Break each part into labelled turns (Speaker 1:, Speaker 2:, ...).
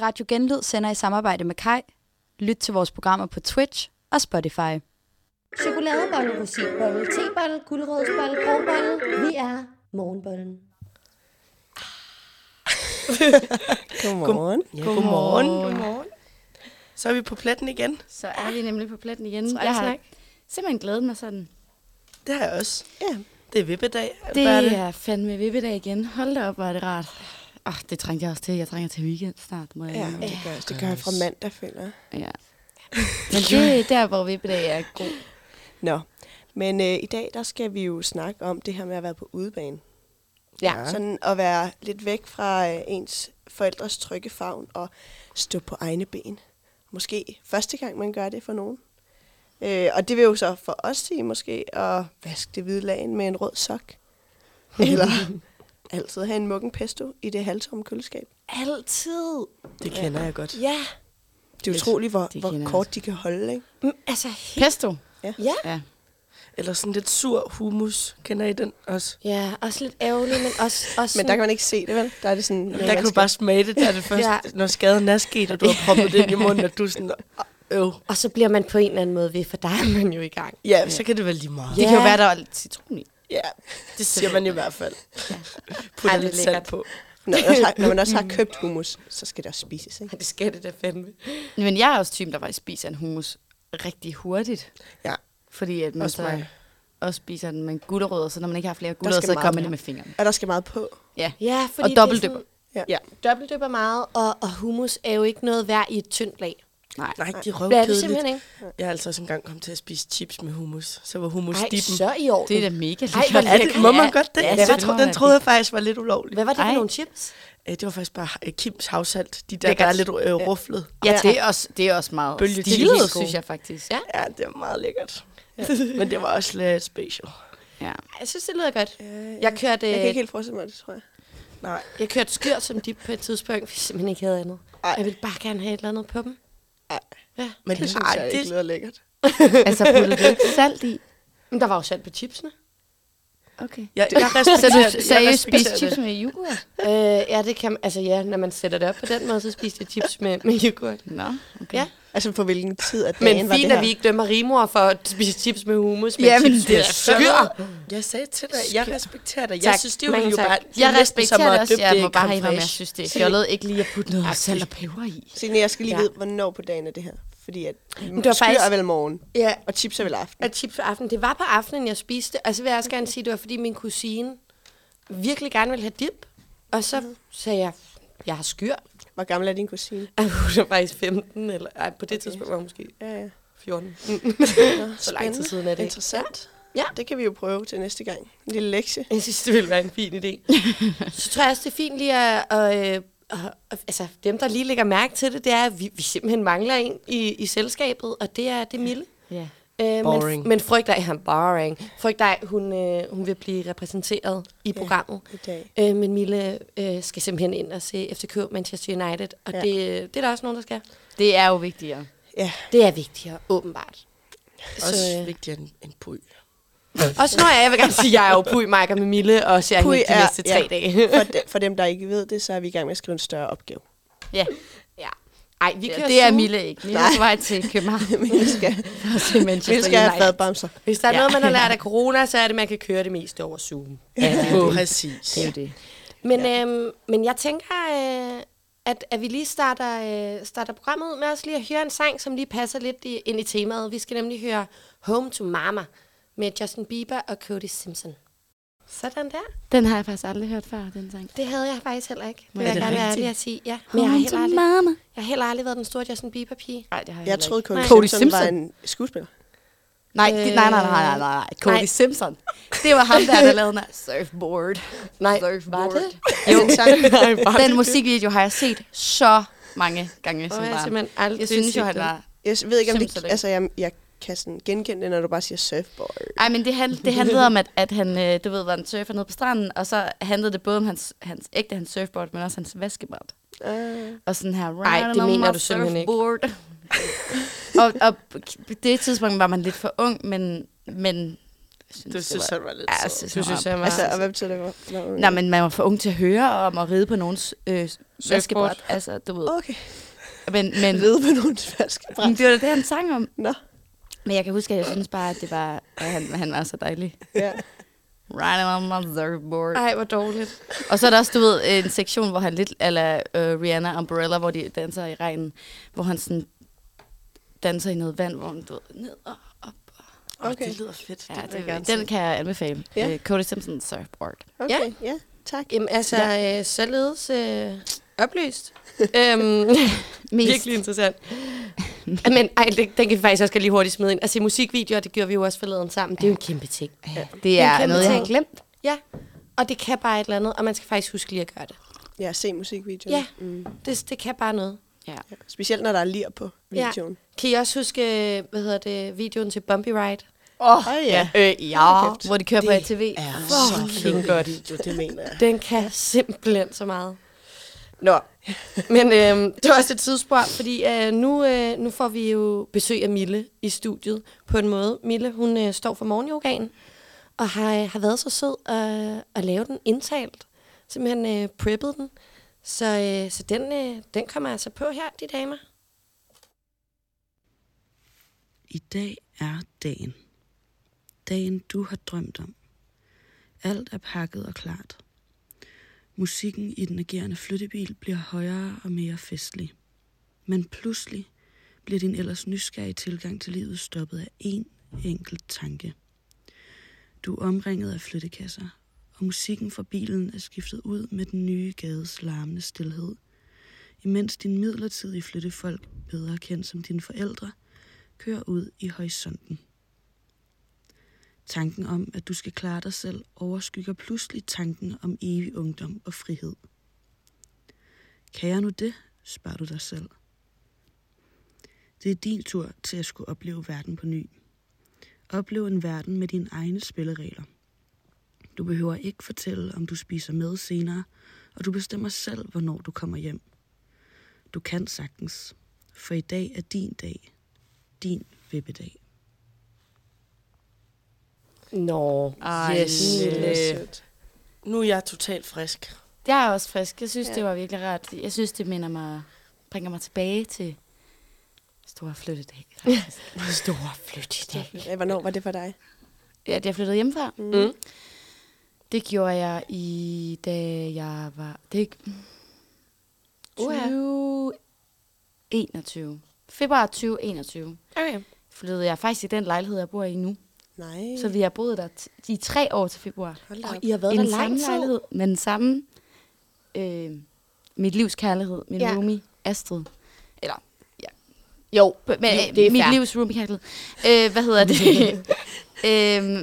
Speaker 1: Radio Genlyd sender i samarbejde med Kai. Lyt til vores programmer på Twitch og Spotify.
Speaker 2: Chokoladebolle, rosinbolle, tebolle, guldrødsbolle, grovbolle. Vi er morgenbollen.
Speaker 3: Godmorgen.
Speaker 4: Ja, godmorgen. godmorgen. Så er vi på pletten igen.
Speaker 5: Så er vi nemlig på pletten igen.
Speaker 4: Tror jeg,
Speaker 5: jeg har
Speaker 4: tak.
Speaker 5: simpelthen glædet mig sådan.
Speaker 4: Det har jeg også.
Speaker 3: Ja.
Speaker 4: Det er vippedag.
Speaker 5: Det
Speaker 4: Hvad
Speaker 5: er, er fandme vippedag igen. Hold da op, hvor er det rart. Åh, oh, det trængte jeg også til. Jeg trænger til weekend snart. Må jeg
Speaker 3: ja,
Speaker 5: indrømme.
Speaker 3: det gør, det gør jeg fra mandag, føler jeg.
Speaker 5: ja. Men det er der, hvor vippedag er god.
Speaker 3: Nå, men øh, i dag, der skal vi jo snakke om det her med at være på udebane.
Speaker 4: Ja.
Speaker 3: Sådan at være lidt væk fra øh, ens forældres trygge favn og stå på egne ben. Måske første gang, man gør det for nogen. Øh, og det vil jo så for os sige måske at vaske det hvide lagen med en rød sok. Eller altid have en muggen pesto i det halvtomme køleskab.
Speaker 2: Altid.
Speaker 4: Det kender jeg godt.
Speaker 3: Ja. Det er utroligt, hvor,
Speaker 5: det kender
Speaker 3: hvor
Speaker 5: jeg
Speaker 3: kort de kan holde, ikke?
Speaker 2: Altså,
Speaker 5: Pesto.
Speaker 2: ja.
Speaker 5: Ja.
Speaker 4: Eller sådan lidt sur hummus. Kender I den også?
Speaker 2: Ja, også lidt ærgerligt, men også, også
Speaker 3: Men der kan man ikke se det, vel? Der er det sådan...
Speaker 4: Der kan du bare smage det, der det første, ja. når skaden er sket, og du har proppet det ind i munden, og du er sådan, øv.
Speaker 2: Og så bliver man på en eller anden måde ved, for der er man jo i gang.
Speaker 4: Ja, så kan det være lige meget.
Speaker 5: Det kan jo være, der er lidt citron i.
Speaker 4: Ja, det siger man i hvert fald. Putter
Speaker 2: Ej,
Speaker 4: lidt
Speaker 2: det er
Speaker 4: salt
Speaker 2: lækkert.
Speaker 4: på.
Speaker 3: Når man, også har, når man også
Speaker 2: Mm.
Speaker 3: har købt hummus, så skal det også spises, ikke?
Speaker 2: Det skal det da fandme.
Speaker 5: Men jeg er også typen, der faktisk spiser en hummus rigtig hurtigt.
Speaker 3: Ja.
Speaker 5: Fordi at man
Speaker 4: Også
Speaker 5: så
Speaker 4: mig.
Speaker 5: også spiser den med gulerødder, så når man ikke har flere
Speaker 3: skal
Speaker 5: gulerødder, så
Speaker 3: meget
Speaker 5: kommer det
Speaker 3: mere.
Speaker 5: med fingrene.
Speaker 3: Og der skal meget på.
Speaker 5: Ja.
Speaker 2: Ja, fordi
Speaker 5: Og
Speaker 2: det er
Speaker 5: dobbeltdypper.
Speaker 2: sådan-
Speaker 3: Ja.
Speaker 4: Ja.
Speaker 2: Dobbeltdypper meget, og, og hummus er jo ikke noget værd i et tyndt lag.
Speaker 5: Nej.
Speaker 4: Nej, det er
Speaker 2: Det er det
Speaker 4: røvkedeligt.
Speaker 2: simpelthen ikke.
Speaker 4: Jeg er altså også engang kommet til at spise chips med hummus. Så var hummus
Speaker 2: Ej,
Speaker 4: dippen.
Speaker 2: så i orden.
Speaker 5: Det er da mega
Speaker 2: Ej, hvor
Speaker 5: lækkert.
Speaker 4: Er det, må man godt det?
Speaker 5: Ja,
Speaker 4: Ja,
Speaker 5: det
Speaker 4: den,
Speaker 5: må
Speaker 4: tro,
Speaker 5: man.
Speaker 4: den troede jeg faktisk var lidt ulovlig.
Speaker 2: Hvad var det for
Speaker 5: Ej.
Speaker 2: nogle chips?
Speaker 4: Øh, Det var faktisk bare øh, Kims havsalt. De der,
Speaker 5: Lækkert.
Speaker 4: der er lidt øh, ruflet.
Speaker 5: Ja, det er også, det er også meget
Speaker 4: Bølge-
Speaker 5: stilet,
Speaker 4: Stilet.
Speaker 5: synes jeg faktisk. Ja.
Speaker 4: Ja, det var meget lækkert. Ja. Men det var også lidt special.
Speaker 5: ja.
Speaker 2: Jeg synes, det lyder godt. Jeg kørte,
Speaker 3: Øh,
Speaker 2: øh,
Speaker 3: Jeg kan
Speaker 2: jeg,
Speaker 3: ikke helt forestille mig det, tror jeg.
Speaker 4: Nej.
Speaker 2: jeg kørte skyr som dip på et tidspunkt, hvis jeg simpelthen ikke havde andet.
Speaker 3: Ej.
Speaker 2: Jeg ville bare gerne have et eller andet på dem. Ja.
Speaker 4: Men det,
Speaker 3: Det synes
Speaker 4: ej,
Speaker 3: jeg ikke
Speaker 4: det,
Speaker 3: lyder lækkert.
Speaker 5: Altså, putter du ikke salt i?
Speaker 2: Men der var jo salt på chipsene.
Speaker 5: Okay.
Speaker 4: jeg, jeg
Speaker 5: Så
Speaker 4: respekterer det.
Speaker 5: du
Speaker 4: Jeg
Speaker 5: seriøst
Speaker 4: respekterer
Speaker 5: spiste chips med yoghurt?
Speaker 2: øh, ja, det kan man, altså ja, når man sætter det op på den måde, så spiste jeg chips med, med yoghurt.
Speaker 5: Nå, okay.
Speaker 2: Ja.
Speaker 3: Altså, for hvilken tid af dagen
Speaker 2: Men
Speaker 3: var
Speaker 2: fint,
Speaker 3: det her?
Speaker 2: at vi ikke dømmer rimor for at spise chips med hummus, men
Speaker 5: Ja, men
Speaker 2: chips
Speaker 5: det
Speaker 2: med
Speaker 5: er
Speaker 2: skyr.
Speaker 4: det. Jeg sagde til dig, jeg respekterer dig.
Speaker 2: Tak.
Speaker 4: Jeg synes, det er
Speaker 2: Mange
Speaker 4: jo
Speaker 2: tak.
Speaker 4: bare... det er
Speaker 5: Jeg
Speaker 4: næsten som
Speaker 5: respekterer
Speaker 4: at
Speaker 5: det også.
Speaker 4: dyppe
Speaker 5: Jeg
Speaker 4: i
Speaker 5: må bare have
Speaker 4: creme
Speaker 5: mig, jeg
Speaker 4: fraiche.
Speaker 5: synes, det er fjollet ikke lige at putte noget salt og peber i.
Speaker 3: Signe, jeg skal lige
Speaker 2: Ja.
Speaker 3: vide, hvornår på dagen er det her. Fordi at
Speaker 2: det var
Speaker 3: skyr
Speaker 2: faktisk-
Speaker 3: er vel morgen,
Speaker 2: Ja,
Speaker 3: og chips er vel aften.
Speaker 2: og chips på aftenen. Det var på aftenen, jeg spiste. det. Og så vil jeg også gerne sige, at det var, fordi min kusine virkelig gerne ville have dip. Og så sagde jeg, jeg har skyr.
Speaker 3: Hvor gammel er din kusine?
Speaker 2: Ej, Hun var faktisk 15, eller ej, på det okay. tidspunkt var hun måske
Speaker 3: Ja, ja.
Speaker 2: 14.
Speaker 3: Så
Speaker 2: lang tid siden er det ikke?
Speaker 3: Ah, Interessant.
Speaker 2: Ja.
Speaker 3: Det kan vi jo prøve til næste gang. En lille lektie.
Speaker 2: Jeg synes, det ville være en fin idé. så tror jeg også, det er fint lige at... at, øh, at- at- altså, dem, der lige lægger mærke til det, det er, at vi, vi simpelthen mangler en i, i selskabet, og det er det er Mille.
Speaker 5: Ja.
Speaker 2: Øh,
Speaker 4: Boring.
Speaker 2: men, men frygt dig, han boring. Frygt dig, hun, øh, hun vil blive repræsenteret i programmet.
Speaker 3: i dag.
Speaker 2: Øh, men Mille øh, skal simpelthen ind og se FCK Manchester United, og
Speaker 3: Ja.
Speaker 2: ja. det, det er der også nogen, der skal.
Speaker 5: Det er jo vigtigere.
Speaker 3: Ja,
Speaker 2: Det er vigtigere, åbenbart.
Speaker 4: Også vigtigere end en puy.
Speaker 2: Og så når jeg, jeg vil gerne sige, at jeg er jo Puy, Mike og med Mille, og ser hende
Speaker 3: Puy
Speaker 2: de
Speaker 3: er-
Speaker 2: næste tre
Speaker 3: ja.
Speaker 2: dage.
Speaker 3: for, de, for dem, der ikke ved det, så er vi i gang med at skrive en større opgave.
Speaker 5: Ja,
Speaker 2: ja. Ej, vi kører
Speaker 5: ja det er
Speaker 2: Zoom.
Speaker 5: Mille ikke. Mille er på vej til København
Speaker 3: Men vi skal,
Speaker 5: og til Manchester
Speaker 3: vi skal have
Speaker 5: United.
Speaker 3: fadbamser.
Speaker 2: Hvis der er
Speaker 5: Ja.
Speaker 2: ja. noget, man har lært af corona, så er det, at man kan køre det meste over Zoom.
Speaker 4: Præcis.
Speaker 5: Det er jo det.
Speaker 2: Men, ja. øhm, men jeg tænker, øh, at, at vi lige starter, øh, starter programmet ud med os lige at høre en sang, som lige passer lidt i, ind i temaet. Vi skal nemlig høre Home to Mama med Justin Bieber og Cody Simpson. Sådan der.
Speaker 5: Den har jeg faktisk aldrig hørt før, den sang.
Speaker 2: Det havde jeg faktisk heller ikke. Det
Speaker 5: Men
Speaker 2: vil
Speaker 5: er
Speaker 2: jeg
Speaker 5: det
Speaker 2: gerne være
Speaker 5: rigtigt?
Speaker 2: ærlig at sige. Ja. Men jeg har, heller aldrig,
Speaker 5: mama.
Speaker 2: jeg har heller aldrig været den store Justin Bieber-pige.
Speaker 5: Nej, det har jeg,
Speaker 3: Jeg
Speaker 5: heller
Speaker 3: troede,
Speaker 5: ikke.
Speaker 3: Cody,
Speaker 5: Cody
Speaker 3: Cody Simpson var
Speaker 5: Simpson.
Speaker 3: en skuespiller.
Speaker 5: Nej, det, nej, nej, nej, nej, nej, nej. Cody
Speaker 2: Nej.
Speaker 5: Simpson. Det var ham der, der lavede den her surfboard.
Speaker 2: Nej, var
Speaker 5: surfboard.
Speaker 2: det?
Speaker 5: Jo,
Speaker 2: Nej, var
Speaker 5: den musikvideo har jeg set så mange gange som
Speaker 2: Åh, jeg har
Speaker 5: barn.
Speaker 2: simpelthen aldrig
Speaker 5: Jeg synes jo,
Speaker 2: set
Speaker 5: han
Speaker 2: den.
Speaker 5: var...
Speaker 3: Jeg ved ikke, om det,
Speaker 5: Simpson.
Speaker 3: altså, jeg, jeg kan sådan genkende det, når du bare siger surfboard.
Speaker 5: Ej, men det, handl- det handlede om, at, at han, øh, du ved, var en surfer nede på stranden, og så handlede det både om hans, hans ægte, hans surfboard, men også hans vaskebræt.
Speaker 3: Uh,
Speaker 5: Og sådan her,
Speaker 2: Ej, det
Speaker 5: "Riding on
Speaker 2: mener
Speaker 5: my
Speaker 2: du simpelthen ikke."
Speaker 5: surfboard. og, og på det tidspunkt var man lidt for ung, men, men synes,
Speaker 4: Du synes,
Speaker 5: var,
Speaker 4: han var lidt
Speaker 5: ja, jeg
Speaker 4: sød.
Speaker 5: synes,
Speaker 2: Du
Speaker 5: han
Speaker 2: synes,
Speaker 5: var-
Speaker 2: jeg var...
Speaker 3: Altså, og hvad betyder det? Hvor- hvor-
Speaker 5: Nej, men man var for ung til at høre om at ride på nogens øh, vaskebræt. Altså, du ved.
Speaker 3: Okay.
Speaker 5: Men, men,
Speaker 3: Ved med nogle vaskebræt.
Speaker 5: men det var da det, han sang om.
Speaker 3: Nå.
Speaker 5: Men jeg kan huske, at jeg synes bare, at det var, at han, han var så dejlig.
Speaker 3: Ja.
Speaker 5: Riding on my surfboard.
Speaker 2: Ej, hvor dårligt.
Speaker 5: Og så er der også, du ved, en sektion, hvor han lidt, eller uh, Rihanna Umbrella, hvor de danser i regnen, hvor han sådan danser i noget vand, hvor han, du ved, ned og op.
Speaker 4: Okay.
Speaker 3: Okay.
Speaker 4: Det lyder fedt.
Speaker 5: Ja,
Speaker 4: vil jeg
Speaker 5: det,
Speaker 4: gerne
Speaker 5: det
Speaker 4: se.
Speaker 5: den kan jeg anbefale.
Speaker 3: Ja.
Speaker 5: Ja. Uh, Cody Simpsons Surfboard.
Speaker 3: Okay. Ja. ja. Tak.
Speaker 2: Jamen, altså, ja. øh, således øh, oplyst. øhm,
Speaker 5: Mest.
Speaker 2: virkelig interessant. Men ej, det, den kan vi faktisk også lige hurtigt smide ind. Altså, musikvideoer, det gjorde vi jo også forleden sammen. Det er jo en kæmpe ting.
Speaker 5: Ja.
Speaker 2: Det
Speaker 5: Det
Speaker 2: er en
Speaker 5: er
Speaker 2: kæmpe
Speaker 5: noget, jeg
Speaker 2: ting.
Speaker 5: har glemt.
Speaker 2: Ja, og det kan bare et eller andet, og man skal faktisk huske lige at gøre det.
Speaker 3: Ja, se musikvideoen.
Speaker 2: Ja,
Speaker 3: Mm.
Speaker 2: det, det kan bare noget.
Speaker 5: Ja.
Speaker 3: ja. Specielt når der er lir på videoen.
Speaker 2: Ja. Kan I også huske, øh, hvad hedder det, videoen til Bumpy Ride?
Speaker 5: Oh,
Speaker 3: Åh, ja.
Speaker 5: Øh, ja. Hvor de kører på
Speaker 4: Det
Speaker 5: ATV.
Speaker 4: er
Speaker 2: Fuck.
Speaker 4: så kedelig
Speaker 2: Godt.
Speaker 4: video, det mener jeg.
Speaker 2: Den kan simpelthen så meget. Nå, men øh, det var også et tidsspur, fordi øh, nu, øh, nu får vi jo besøg af Mille i studiet på en måde. Mille, hun øh, står for morgenyogaen og har, øh, har været så sød at, at lave den indtalt. Simpelthen øh, preppet den. Så, øh, så den, øh, den kommer altså på her, de damer.
Speaker 6: I dag er dagen. Dagen, du har drømt om. Alt er pakket og klart. Musikken i den agerende flyttebil bliver højere og mere festlig. Men pludselig bliver din ellers nysgerrige tilgang til livet stoppet af én enkelt tanke. Du er omringet af flyttekasser, og musikken fra bilen er skiftet ud med den nye gades larmende stillhed, imens din midlertidige flyttefolk, bedre kendt som dine forældre, kører ud i horisonten. Tanken om, at du skal klare dig selv, overskygger pludselig tanken om evig ungdom og frihed. Kan jeg nu det, spørger du dig selv. Det er din tur til at skulle opleve verden på ny. Oplev en verden med dine egne spilleregler. Du behøver ikke fortælle, om du spiser med senere, og du bestemmer selv, hvornår du kommer hjem. Du kan sagtens, for i dag er din dag din vippedag.
Speaker 2: Nå,
Speaker 5: Ej,
Speaker 3: Mm,
Speaker 2: yes.
Speaker 4: Lille sødt. Nu er jeg totalt frisk.
Speaker 5: Jeg er også frisk. Jeg synes, ja. det var virkelig rart. Jeg synes, det minder mig, bringer mig tilbage til store flyttedag. faktisk.
Speaker 2: Store flyt i dag.
Speaker 3: Ja, Hvornår var det for dig?
Speaker 5: Ja, at jeg flyttede hjemmefra.
Speaker 2: Mm.
Speaker 5: Det gjorde jeg i, da jeg var... Det
Speaker 2: Uha.
Speaker 5: 2021. Februar 2021
Speaker 2: Okay.
Speaker 5: flyttede jeg faktisk i den lejlighed, jeg bor i nu.
Speaker 3: Nej.
Speaker 5: Så vi har boet der t- i tre år til februar.
Speaker 3: Hold da op.
Speaker 2: I har været
Speaker 5: I
Speaker 2: der
Speaker 5: den
Speaker 2: lang
Speaker 5: samme
Speaker 2: tid.
Speaker 5: lejlighed, med den samme... Øh, mit livs kærlighed, min
Speaker 2: Ja.
Speaker 5: ja. roomie Astrid. Eller, ja. Jo, b- men
Speaker 2: Det-
Speaker 5: øh,
Speaker 2: det er
Speaker 5: mit
Speaker 2: fair.
Speaker 5: livs roomie kærlighed. Øh, hvad hedder det?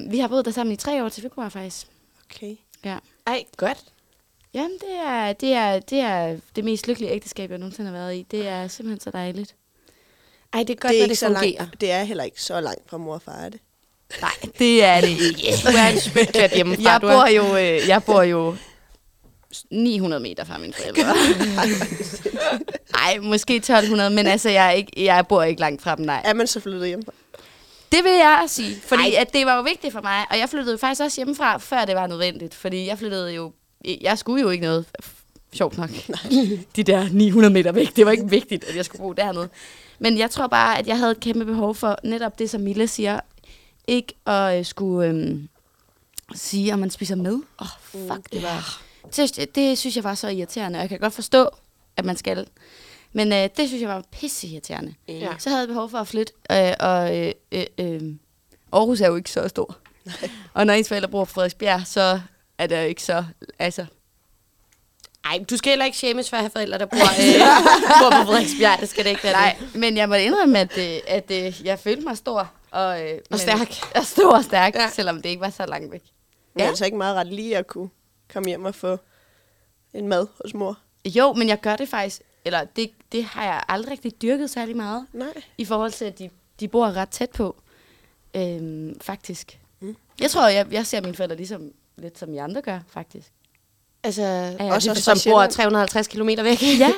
Speaker 5: øh, vi har boet der sammen i tre år til februar, faktisk.
Speaker 3: Okay.
Speaker 5: Ja.
Speaker 2: Ej, godt.
Speaker 5: Jamen, det er, det, er, det er det mest lykkelige ægteskab, jeg nogensinde har været i. Det er simpelthen så dejligt.
Speaker 2: Ej, det er godt, når
Speaker 3: Det er, ikke
Speaker 2: det
Speaker 3: så
Speaker 2: fungerer.
Speaker 3: langt, det er heller ikke så langt fra mor og far, er det?
Speaker 5: Nej, det er det ikke.
Speaker 2: Du er en spytklat hjemmefra,
Speaker 5: Jeg
Speaker 2: du er.
Speaker 5: bor jo, øh, jeg bor jo 900 meter fra mine forældre. Nej, måske 1200, men altså, jeg, er ikke, jeg bor ikke langt fra dem, nej.
Speaker 3: Er man så flyttet hjem?
Speaker 5: Det vil jeg sige, fordi at det var jo vigtigt for mig, og jeg flyttede jo faktisk også hjemmefra, før det var nødvendigt, fordi jeg flyttede jo, jeg skulle jo ikke noget, sjovt nok, de der 900 meter væk, det var ikke vigtigt, at jeg skulle bo dernede. Men jeg tror bare, at jeg havde et kæmpe behov for netop det, som Mille siger, ikke at øh, skulle øhm, sige, om man spiser med. Åh, oh, fuck, det var... Det, det synes jeg var så irriterende, og jeg kan godt forstå, at man skal. Men øh, det synes jeg var pisse irriterende.
Speaker 2: Ja.
Speaker 5: Så havde jeg behov for at flytte, øh, og øh, øh, øh, Aarhus er jo ikke så stor. og når ens forældre bor på Frederiksbjerg, så er det jo ikke så... Altså,
Speaker 2: Ej, du skal heller ikke shames for at have forældre, der bor, øh, bor på Frederiksbjerg. Det skal det ikke være.
Speaker 5: nej, men jeg må indrømme, at, øh, at øh, jeg følte mig stor. Og, øh, men-
Speaker 2: stærk.
Speaker 5: Og stor og stærk,
Speaker 2: Ja.
Speaker 5: ja. selvom det ikke var så langt væk.
Speaker 3: Men ja. er det så ikke meget ret lige at kunne komme hjem og få en mad hos mor?
Speaker 5: Jo, men jeg gør det faktisk, eller det, det har jeg aldrig rigtig dyrket særlig meget,
Speaker 3: Nej.
Speaker 5: i forhold til, at de, de bor ret tæt på, øhm, faktisk. Mm. Jeg tror, jeg, jeg ser mine forældre ligesom lidt som I andre gør, faktisk.
Speaker 2: Altså, ja,
Speaker 3: også
Speaker 2: også
Speaker 3: fra
Speaker 2: som bor
Speaker 3: Sjælland?
Speaker 2: 350 km væk.
Speaker 5: Ja,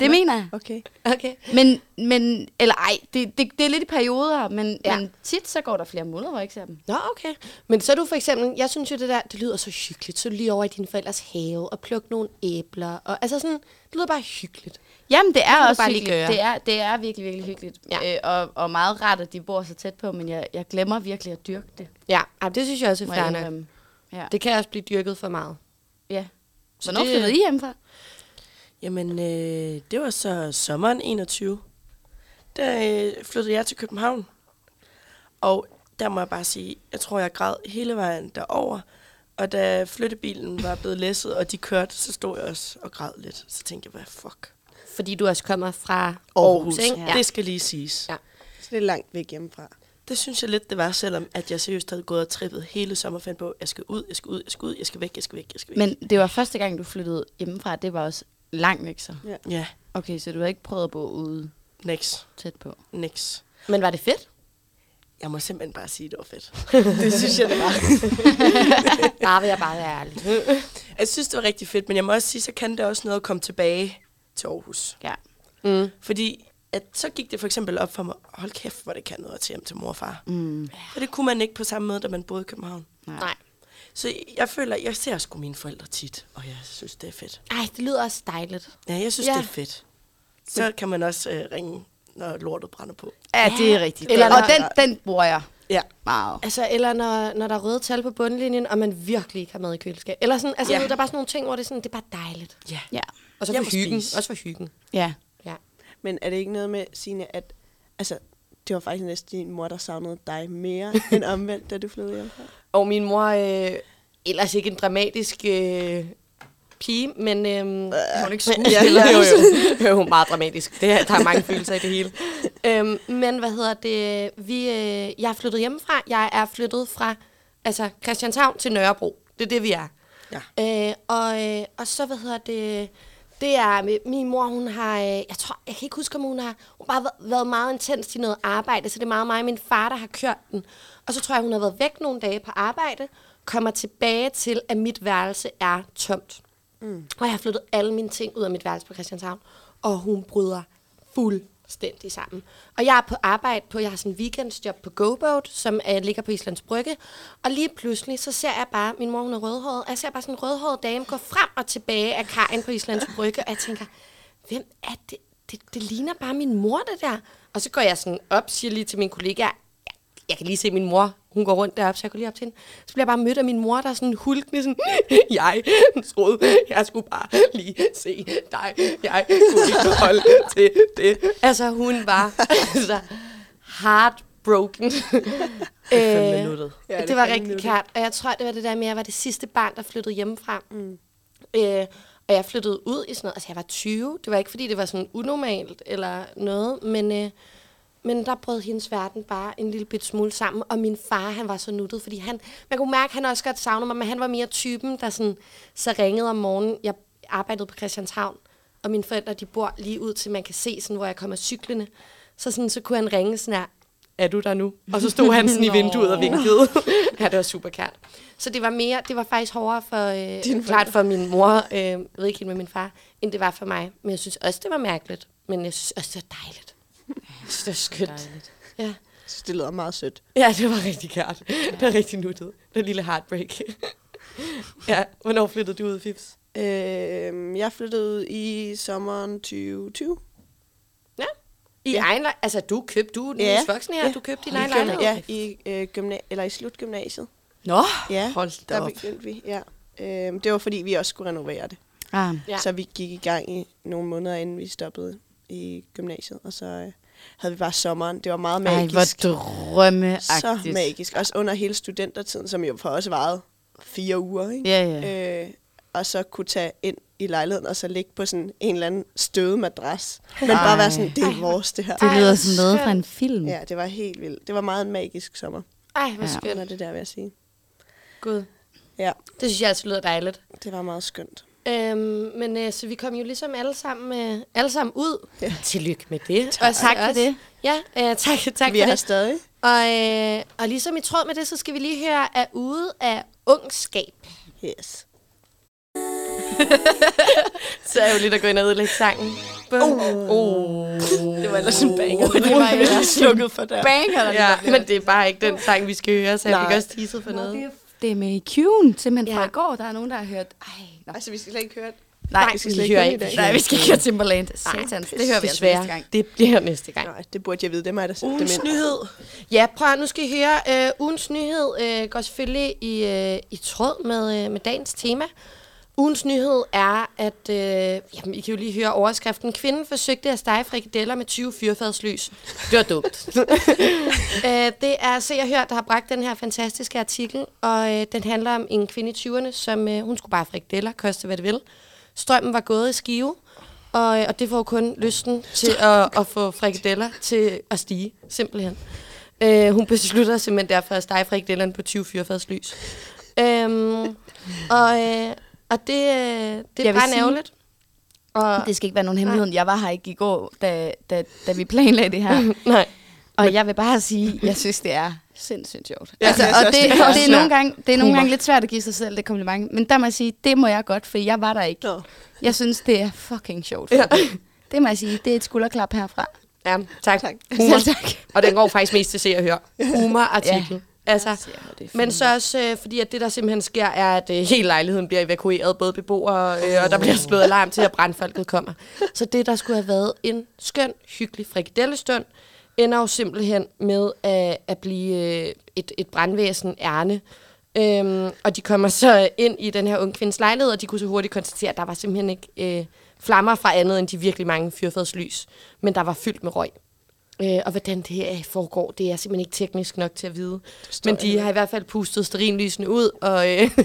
Speaker 5: det mener jeg.
Speaker 3: Okay.
Speaker 2: okay.
Speaker 5: Men, men eller ej, det, det, det er lidt i perioder, men, ja.
Speaker 2: Ja.
Speaker 5: men tit så går der flere måneder, hvor jeg ikke ser dem.
Speaker 2: Nå, okay. Men så er du for eksempel, jeg synes jo det der, det lyder så hyggeligt. Så lige over i dine forældres have og plukke nogle æbler. Og, altså sådan, det lyder bare hyggeligt.
Speaker 5: Jamen, det er
Speaker 2: du
Speaker 5: også
Speaker 2: bare lige
Speaker 5: hyggeligt.
Speaker 2: gøre.
Speaker 5: Det er, det er virkelig, virkelig hyggeligt.
Speaker 2: Ja.
Speaker 5: Øh, og, og meget rart, at de bor så tæt på, men jeg, jeg glemmer virkelig at dyrke det.
Speaker 2: Ja, ej, det synes jeg også er
Speaker 5: Må jeg
Speaker 2: fair nok.
Speaker 5: indrømme. ja. Det,
Speaker 2: Det kan også blive dyrket for meget.
Speaker 5: ja. Hvornår
Speaker 2: det-
Speaker 5: flyttede I hjemmefra?
Speaker 4: Jamen, øh, det var så sommeren 21. Der øh, flyttede jeg til København. Og der må jeg bare sige, jeg tror, jeg græd hele vejen derover. Og da flyttebilen var blevet læsset, og de kørte, så stod jeg også og græd lidt. Så tænkte jeg, hvad fuck?
Speaker 2: Fordi du også kommer fra Aarhus,
Speaker 4: Aarhus,
Speaker 2: ikke?
Speaker 4: ja. det skal lige siges.
Speaker 2: Ja.
Speaker 4: Ja.
Speaker 3: Så det er langt væk hjemmefra.
Speaker 4: Det synes jeg lidt, det var, selvom at jeg seriøst havde gået og trippet hele sommerferien på, jeg skal ud, jeg skal ud, jeg skal ud, jeg skal væk, jeg skal væk, jeg skal væk.
Speaker 5: Men det var første gang, du flyttede hjemmefra. Det var også langt væk så.
Speaker 4: Ja,
Speaker 5: Okay, så du har ikke prøvet at bo ude
Speaker 4: next,
Speaker 5: tæt på.
Speaker 4: next.
Speaker 2: Men var det fedt?
Speaker 4: Jeg må simpelthen bare sige, at det var fedt. det synes jeg, det var.
Speaker 2: Bare vil jeg bare være ærlig.
Speaker 4: Jeg synes, det var rigtig fedt, men jeg må også sige, så kan det også noget at komme tilbage til Aarhus.
Speaker 5: Ja.
Speaker 4: Fordi at så gik det for eksempel op for mig, hold kæft, hvor det kan noget at tage hjem til mor og far. Mm. For det kunne man ikke på samme måde, da man boede i København.
Speaker 2: Nej.
Speaker 4: Så jeg føler, jeg ser sgu mine forældre tit, og jeg synes, det er fedt.
Speaker 2: Ej, det lyder også dejligt.
Speaker 4: Ja, jeg synes,
Speaker 2: Ja.
Speaker 4: ja. det er fedt. Så kan man også øh, ringe, når lortet brænder på.
Speaker 5: Ja, det er rigtigt.
Speaker 2: Eller
Speaker 5: Eller, og
Speaker 2: når-
Speaker 5: den, den bruger jeg
Speaker 4: Ja.
Speaker 5: meget.
Speaker 2: Altså, eller når, når der er røde tal på bundlinjen, og man virkelig ikke har mad i køleskab. Eller sådan, altså,
Speaker 4: Ja.
Speaker 2: ja. der er bare sådan nogle ting, hvor det er sådan, det er bare dejligt.
Speaker 4: Ja.
Speaker 5: Ja.
Speaker 2: Og så for
Speaker 4: Jeg må
Speaker 2: hyggen.
Speaker 4: spise.
Speaker 2: Også for hyggen.
Speaker 5: Ja.
Speaker 2: Ja.
Speaker 3: Men er det ikke noget med, Signe, at altså, det var faktisk næsten din mor, der savnede dig mere end omvendt, da du flyttede hjemmefra?
Speaker 2: Og min mor, øh, ellers ikke en dramatisk øh, pige, men... Øh, hun er ikke skuespiller. jo, jo. jo, hun er meget dramatisk. Det, er- der er mange følelser i det hele. Øhm, men hvad hedder det? Vi, øh, jeg er flyttet hjemmefra. Jeg er flyttet fra altså Christianshavn til Nørrebro. Det er det, vi er. Ja. Øh, og, øh, og så, hvad hedder det... Det er, mi- min mor, hun har, øh, jeg tror, jeg kan ikke huske, om hun har, hun har bare væ- været meget intens i noget arbejde, så det er meget mig og min far, der har kørt den. Og så tror jeg, hun har været væk nogle dage på arbejde, kommer tilbage til, at mit værelse er tomt. Mm. Og jeg har flyttet alle mine ting ud af mit værelse på Christianshavn, og hun bryder fuldstændig sammen. Og jeg er på arbejde på, jeg har sådan en weekendsjob på GoBoat, som øh, ligger på Islands Brygge, og lige pludselig, så ser jeg bare, min mor hun er rødhåret, og jeg ser bare sådan en rødhåret dame gå frem og tilbage af kajen på Islands Brygge, og jeg tænker, hvem er det? Det, det ligner bare min mor, det der. Og så går jeg sådan op, siger lige til min kollega, jeg kan lige se min mor, hun går rundt deroppe, så jeg går lige op til hende. Så bliver jeg bare mødt af min mor, der er sådan hulkende sådan, jeg troede, jeg skulle bare lige se dig. Jeg kunne ikke holde til det. Altså, hun var altså, heartbroken.
Speaker 4: Fem
Speaker 2: Øh,
Speaker 4: minutter.
Speaker 2: Ja, det, det var rigtig kært. Og jeg tror, det var det der med, at jeg var det sidste barn, der flyttede hjemmefra. Mm. Øh, og jeg flyttede ud i sådan noget. Altså, jeg var 20. Det var ikke, fordi det var sådan unormalt eller noget. Men, øh, men der brød hendes verden bare en lille bit smule sammen. Og min far, han var så nuttet, fordi han... Man kunne mærke, at han også godt savnede mig, men han var mere typen, der sådan, så ringede om morgenen. Jeg arbejdede på Christianshavn, og mine forældre, de bor lige ud til, man kan se, sådan, hvor jeg kommer cyklende. Så, sådan, så kunne han ringe sådan her, er du der nu? Og så stod han sådan i vinduet og vinkede. ja, det var super kært. Så det var mere, det var faktisk hårdere for, øh, klart for min mor, øh, jeg ved ikke helt med min far, end det var for mig. Men jeg synes også, det var mærkeligt. Men jeg synes også, det var dejligt. Jeg synes, det var skønt. Ja.
Speaker 3: Jeg synes, det lyder meget sødt.
Speaker 2: ja, det var rigtig kært. Det var rigtig nuttet. Det lille heartbreak. ja, hvornår flyttede du ud, Fips?
Speaker 3: Øh, jeg flyttede ud i sommeren 2020.
Speaker 2: Ja. I ja. egen lej- altså du købte, du er ja. voksen her, ja. du købte din
Speaker 3: I
Speaker 2: egen
Speaker 3: gymna-
Speaker 2: lejlighed.
Speaker 3: Ja, i, øh, gymna- eller i slutgymnasiet.
Speaker 2: Nå,
Speaker 3: Ja,
Speaker 4: Hold da
Speaker 3: der
Speaker 4: op.
Speaker 3: begyndte vi. Ja. Øh, det var, fordi vi også skulle renovere det.
Speaker 5: Ah.
Speaker 2: Ja.
Speaker 3: Ja. Så vi gik i gang i nogle måneder, inden vi stoppede i gymnasiet. Og så øh, havde vi bare sommeren. Det var meget
Speaker 5: Ej,
Speaker 3: magisk.
Speaker 5: hvor drømmeagtigt.
Speaker 3: så magisk. Også under hele studentertiden, som jo for os varede fire uger. Ikke?
Speaker 5: Ja, ja.
Speaker 3: Øh, og så kunne tage ind i lejligheden, og så ligge på sådan en eller anden støde madras. Men bare være sådan, det er vores det her.
Speaker 5: Det
Speaker 2: Ej,
Speaker 5: lyder
Speaker 2: hvor
Speaker 5: som noget fra en film.
Speaker 3: Ja, det var helt vildt. Det var meget en magisk sommer.
Speaker 2: ej, hvor
Speaker 5: Ja.
Speaker 2: ja.
Speaker 3: Under
Speaker 2: skønt.
Speaker 3: det der, vil jeg sige.
Speaker 2: Gud.
Speaker 3: Ja,
Speaker 2: Det synes jeg altså lyder dejligt.
Speaker 3: det var meget skønt.
Speaker 2: Øhm, men øh, så vi kom jo ligesom alle sammen, øh, alle sammen ud. Ja. Tillykke med det.
Speaker 5: Og tak for det.
Speaker 2: Ja, øh, tak, tak
Speaker 3: Vi
Speaker 2: for
Speaker 3: er her
Speaker 2: det.
Speaker 3: stadig.
Speaker 2: Og, øh, og ligesom i tråd med det, så skal vi lige høre af ude af ungskab.
Speaker 3: Yes.
Speaker 2: Så er jeg jo lidt at gå ind og ødelægge sangen. Bum. Oh.
Speaker 4: Det var ellers en banger. Det
Speaker 5: var
Speaker 4: var jeg slukket for der.
Speaker 5: Banger, der
Speaker 2: Ja, men det er bare ikke den sang, vi skal høre, så jeg
Speaker 4: Nej.
Speaker 2: fik også teaset for noget.
Speaker 5: Det er med i Q'en, simpelthen ja. fra
Speaker 2: Ja.
Speaker 5: i går. Der er nogen, der har hørt... Ej, nå.
Speaker 3: Altså, vi skal slet ikke høre det.
Speaker 5: Nej,
Speaker 2: vi skal
Speaker 5: vi skal
Speaker 2: slet
Speaker 5: ikke høre
Speaker 2: ikke høre
Speaker 5: Nej, vi skal ikke høre Timberland. Satans, det hører vi altså
Speaker 2: Desværre.
Speaker 5: næste gang.
Speaker 2: Det bliver næste gang.
Speaker 3: Nej, det burde jeg vide. Det er mig, der sætter det
Speaker 4: Ugens
Speaker 3: med.
Speaker 4: nyhed.
Speaker 2: Ja, prøv at, nu skal I høre. Øh, ugens nyhed øh, går selvfølgelig i, øh, i tråd med, øh, med dagens tema. Ugens nyhed er, at øh, jamen, I kan jo lige høre overskriften. Kvinden forsøgte at stege frikadeller med 20 fyrfadslys. Det var dumt. øh, det er Se og Hør, der har bragt den her fantastiske artikel, og øh, den handler om en kvinde i 20'erne, som øh, hun skulle bare have frikadeller, koste hvad det vil. Strømmen var gået i skive, og, øh, og det får jo kun lysten til at, at få frikadeller til at stige, simpelthen. Øh, hun beslutter simpelthen derfor at stege frikadellerne på 20 fyrfadslys. øhm, og, øh, og det, øh, det er
Speaker 5: Jeg vil
Speaker 2: bare
Speaker 5: sige-
Speaker 2: ærgerligt. Og,
Speaker 5: Det skal ikke være nogen hemmelighed. Jeg var her ikke i går, da, da, da vi planlagde det her.
Speaker 2: nej.
Speaker 5: Og jeg vil bare sige, jeg synes, det er sindssygt sjovt.
Speaker 3: Ja,
Speaker 5: Ja, altså,
Speaker 3: jeg
Speaker 5: og
Speaker 3: synes
Speaker 5: det,
Speaker 3: også, det er
Speaker 5: og det er
Speaker 2: svært.
Speaker 5: nogle gange, det er nogle
Speaker 2: Humor.
Speaker 5: gange lidt svært at give sig selv det kompliment. Men der må jeg sige, det må jeg godt, for jeg var der ikke.
Speaker 3: Nå.
Speaker 5: Jeg synes, det er fucking sjovt. Ja. Det må jeg sige, det er et skulderklap herfra.
Speaker 2: Ja, tak. tak.
Speaker 5: Selv tak.
Speaker 2: Og den går faktisk mest til se og høre. Humorartiklen. Ja. Altså,
Speaker 5: det
Speaker 2: men så også, øh, fordi at det, der simpelthen sker, er, at øh, hele lejligheden bliver evakueret, både beboere, øh, og der bliver slået alarm til, at brandfolket kommer. Så det, der skulle have været en skøn, hyggelig frikadellestund, ender jo simpelthen med at, at blive øh, et, et brandvæsen ærne. Øhm, og de kommer så ind i den her unge kvindes lejlighed, og de kunne så hurtigt konstatere, at der var simpelthen ikke øh, flammer fra andet end de virkelig mange fyrfadslys, men der var fyldt med røg. Øh, og hvordan det her foregår, det er simpelthen ikke teknisk nok til at vide. Men de har i hvert fald pustet sterinlysene ud og øh,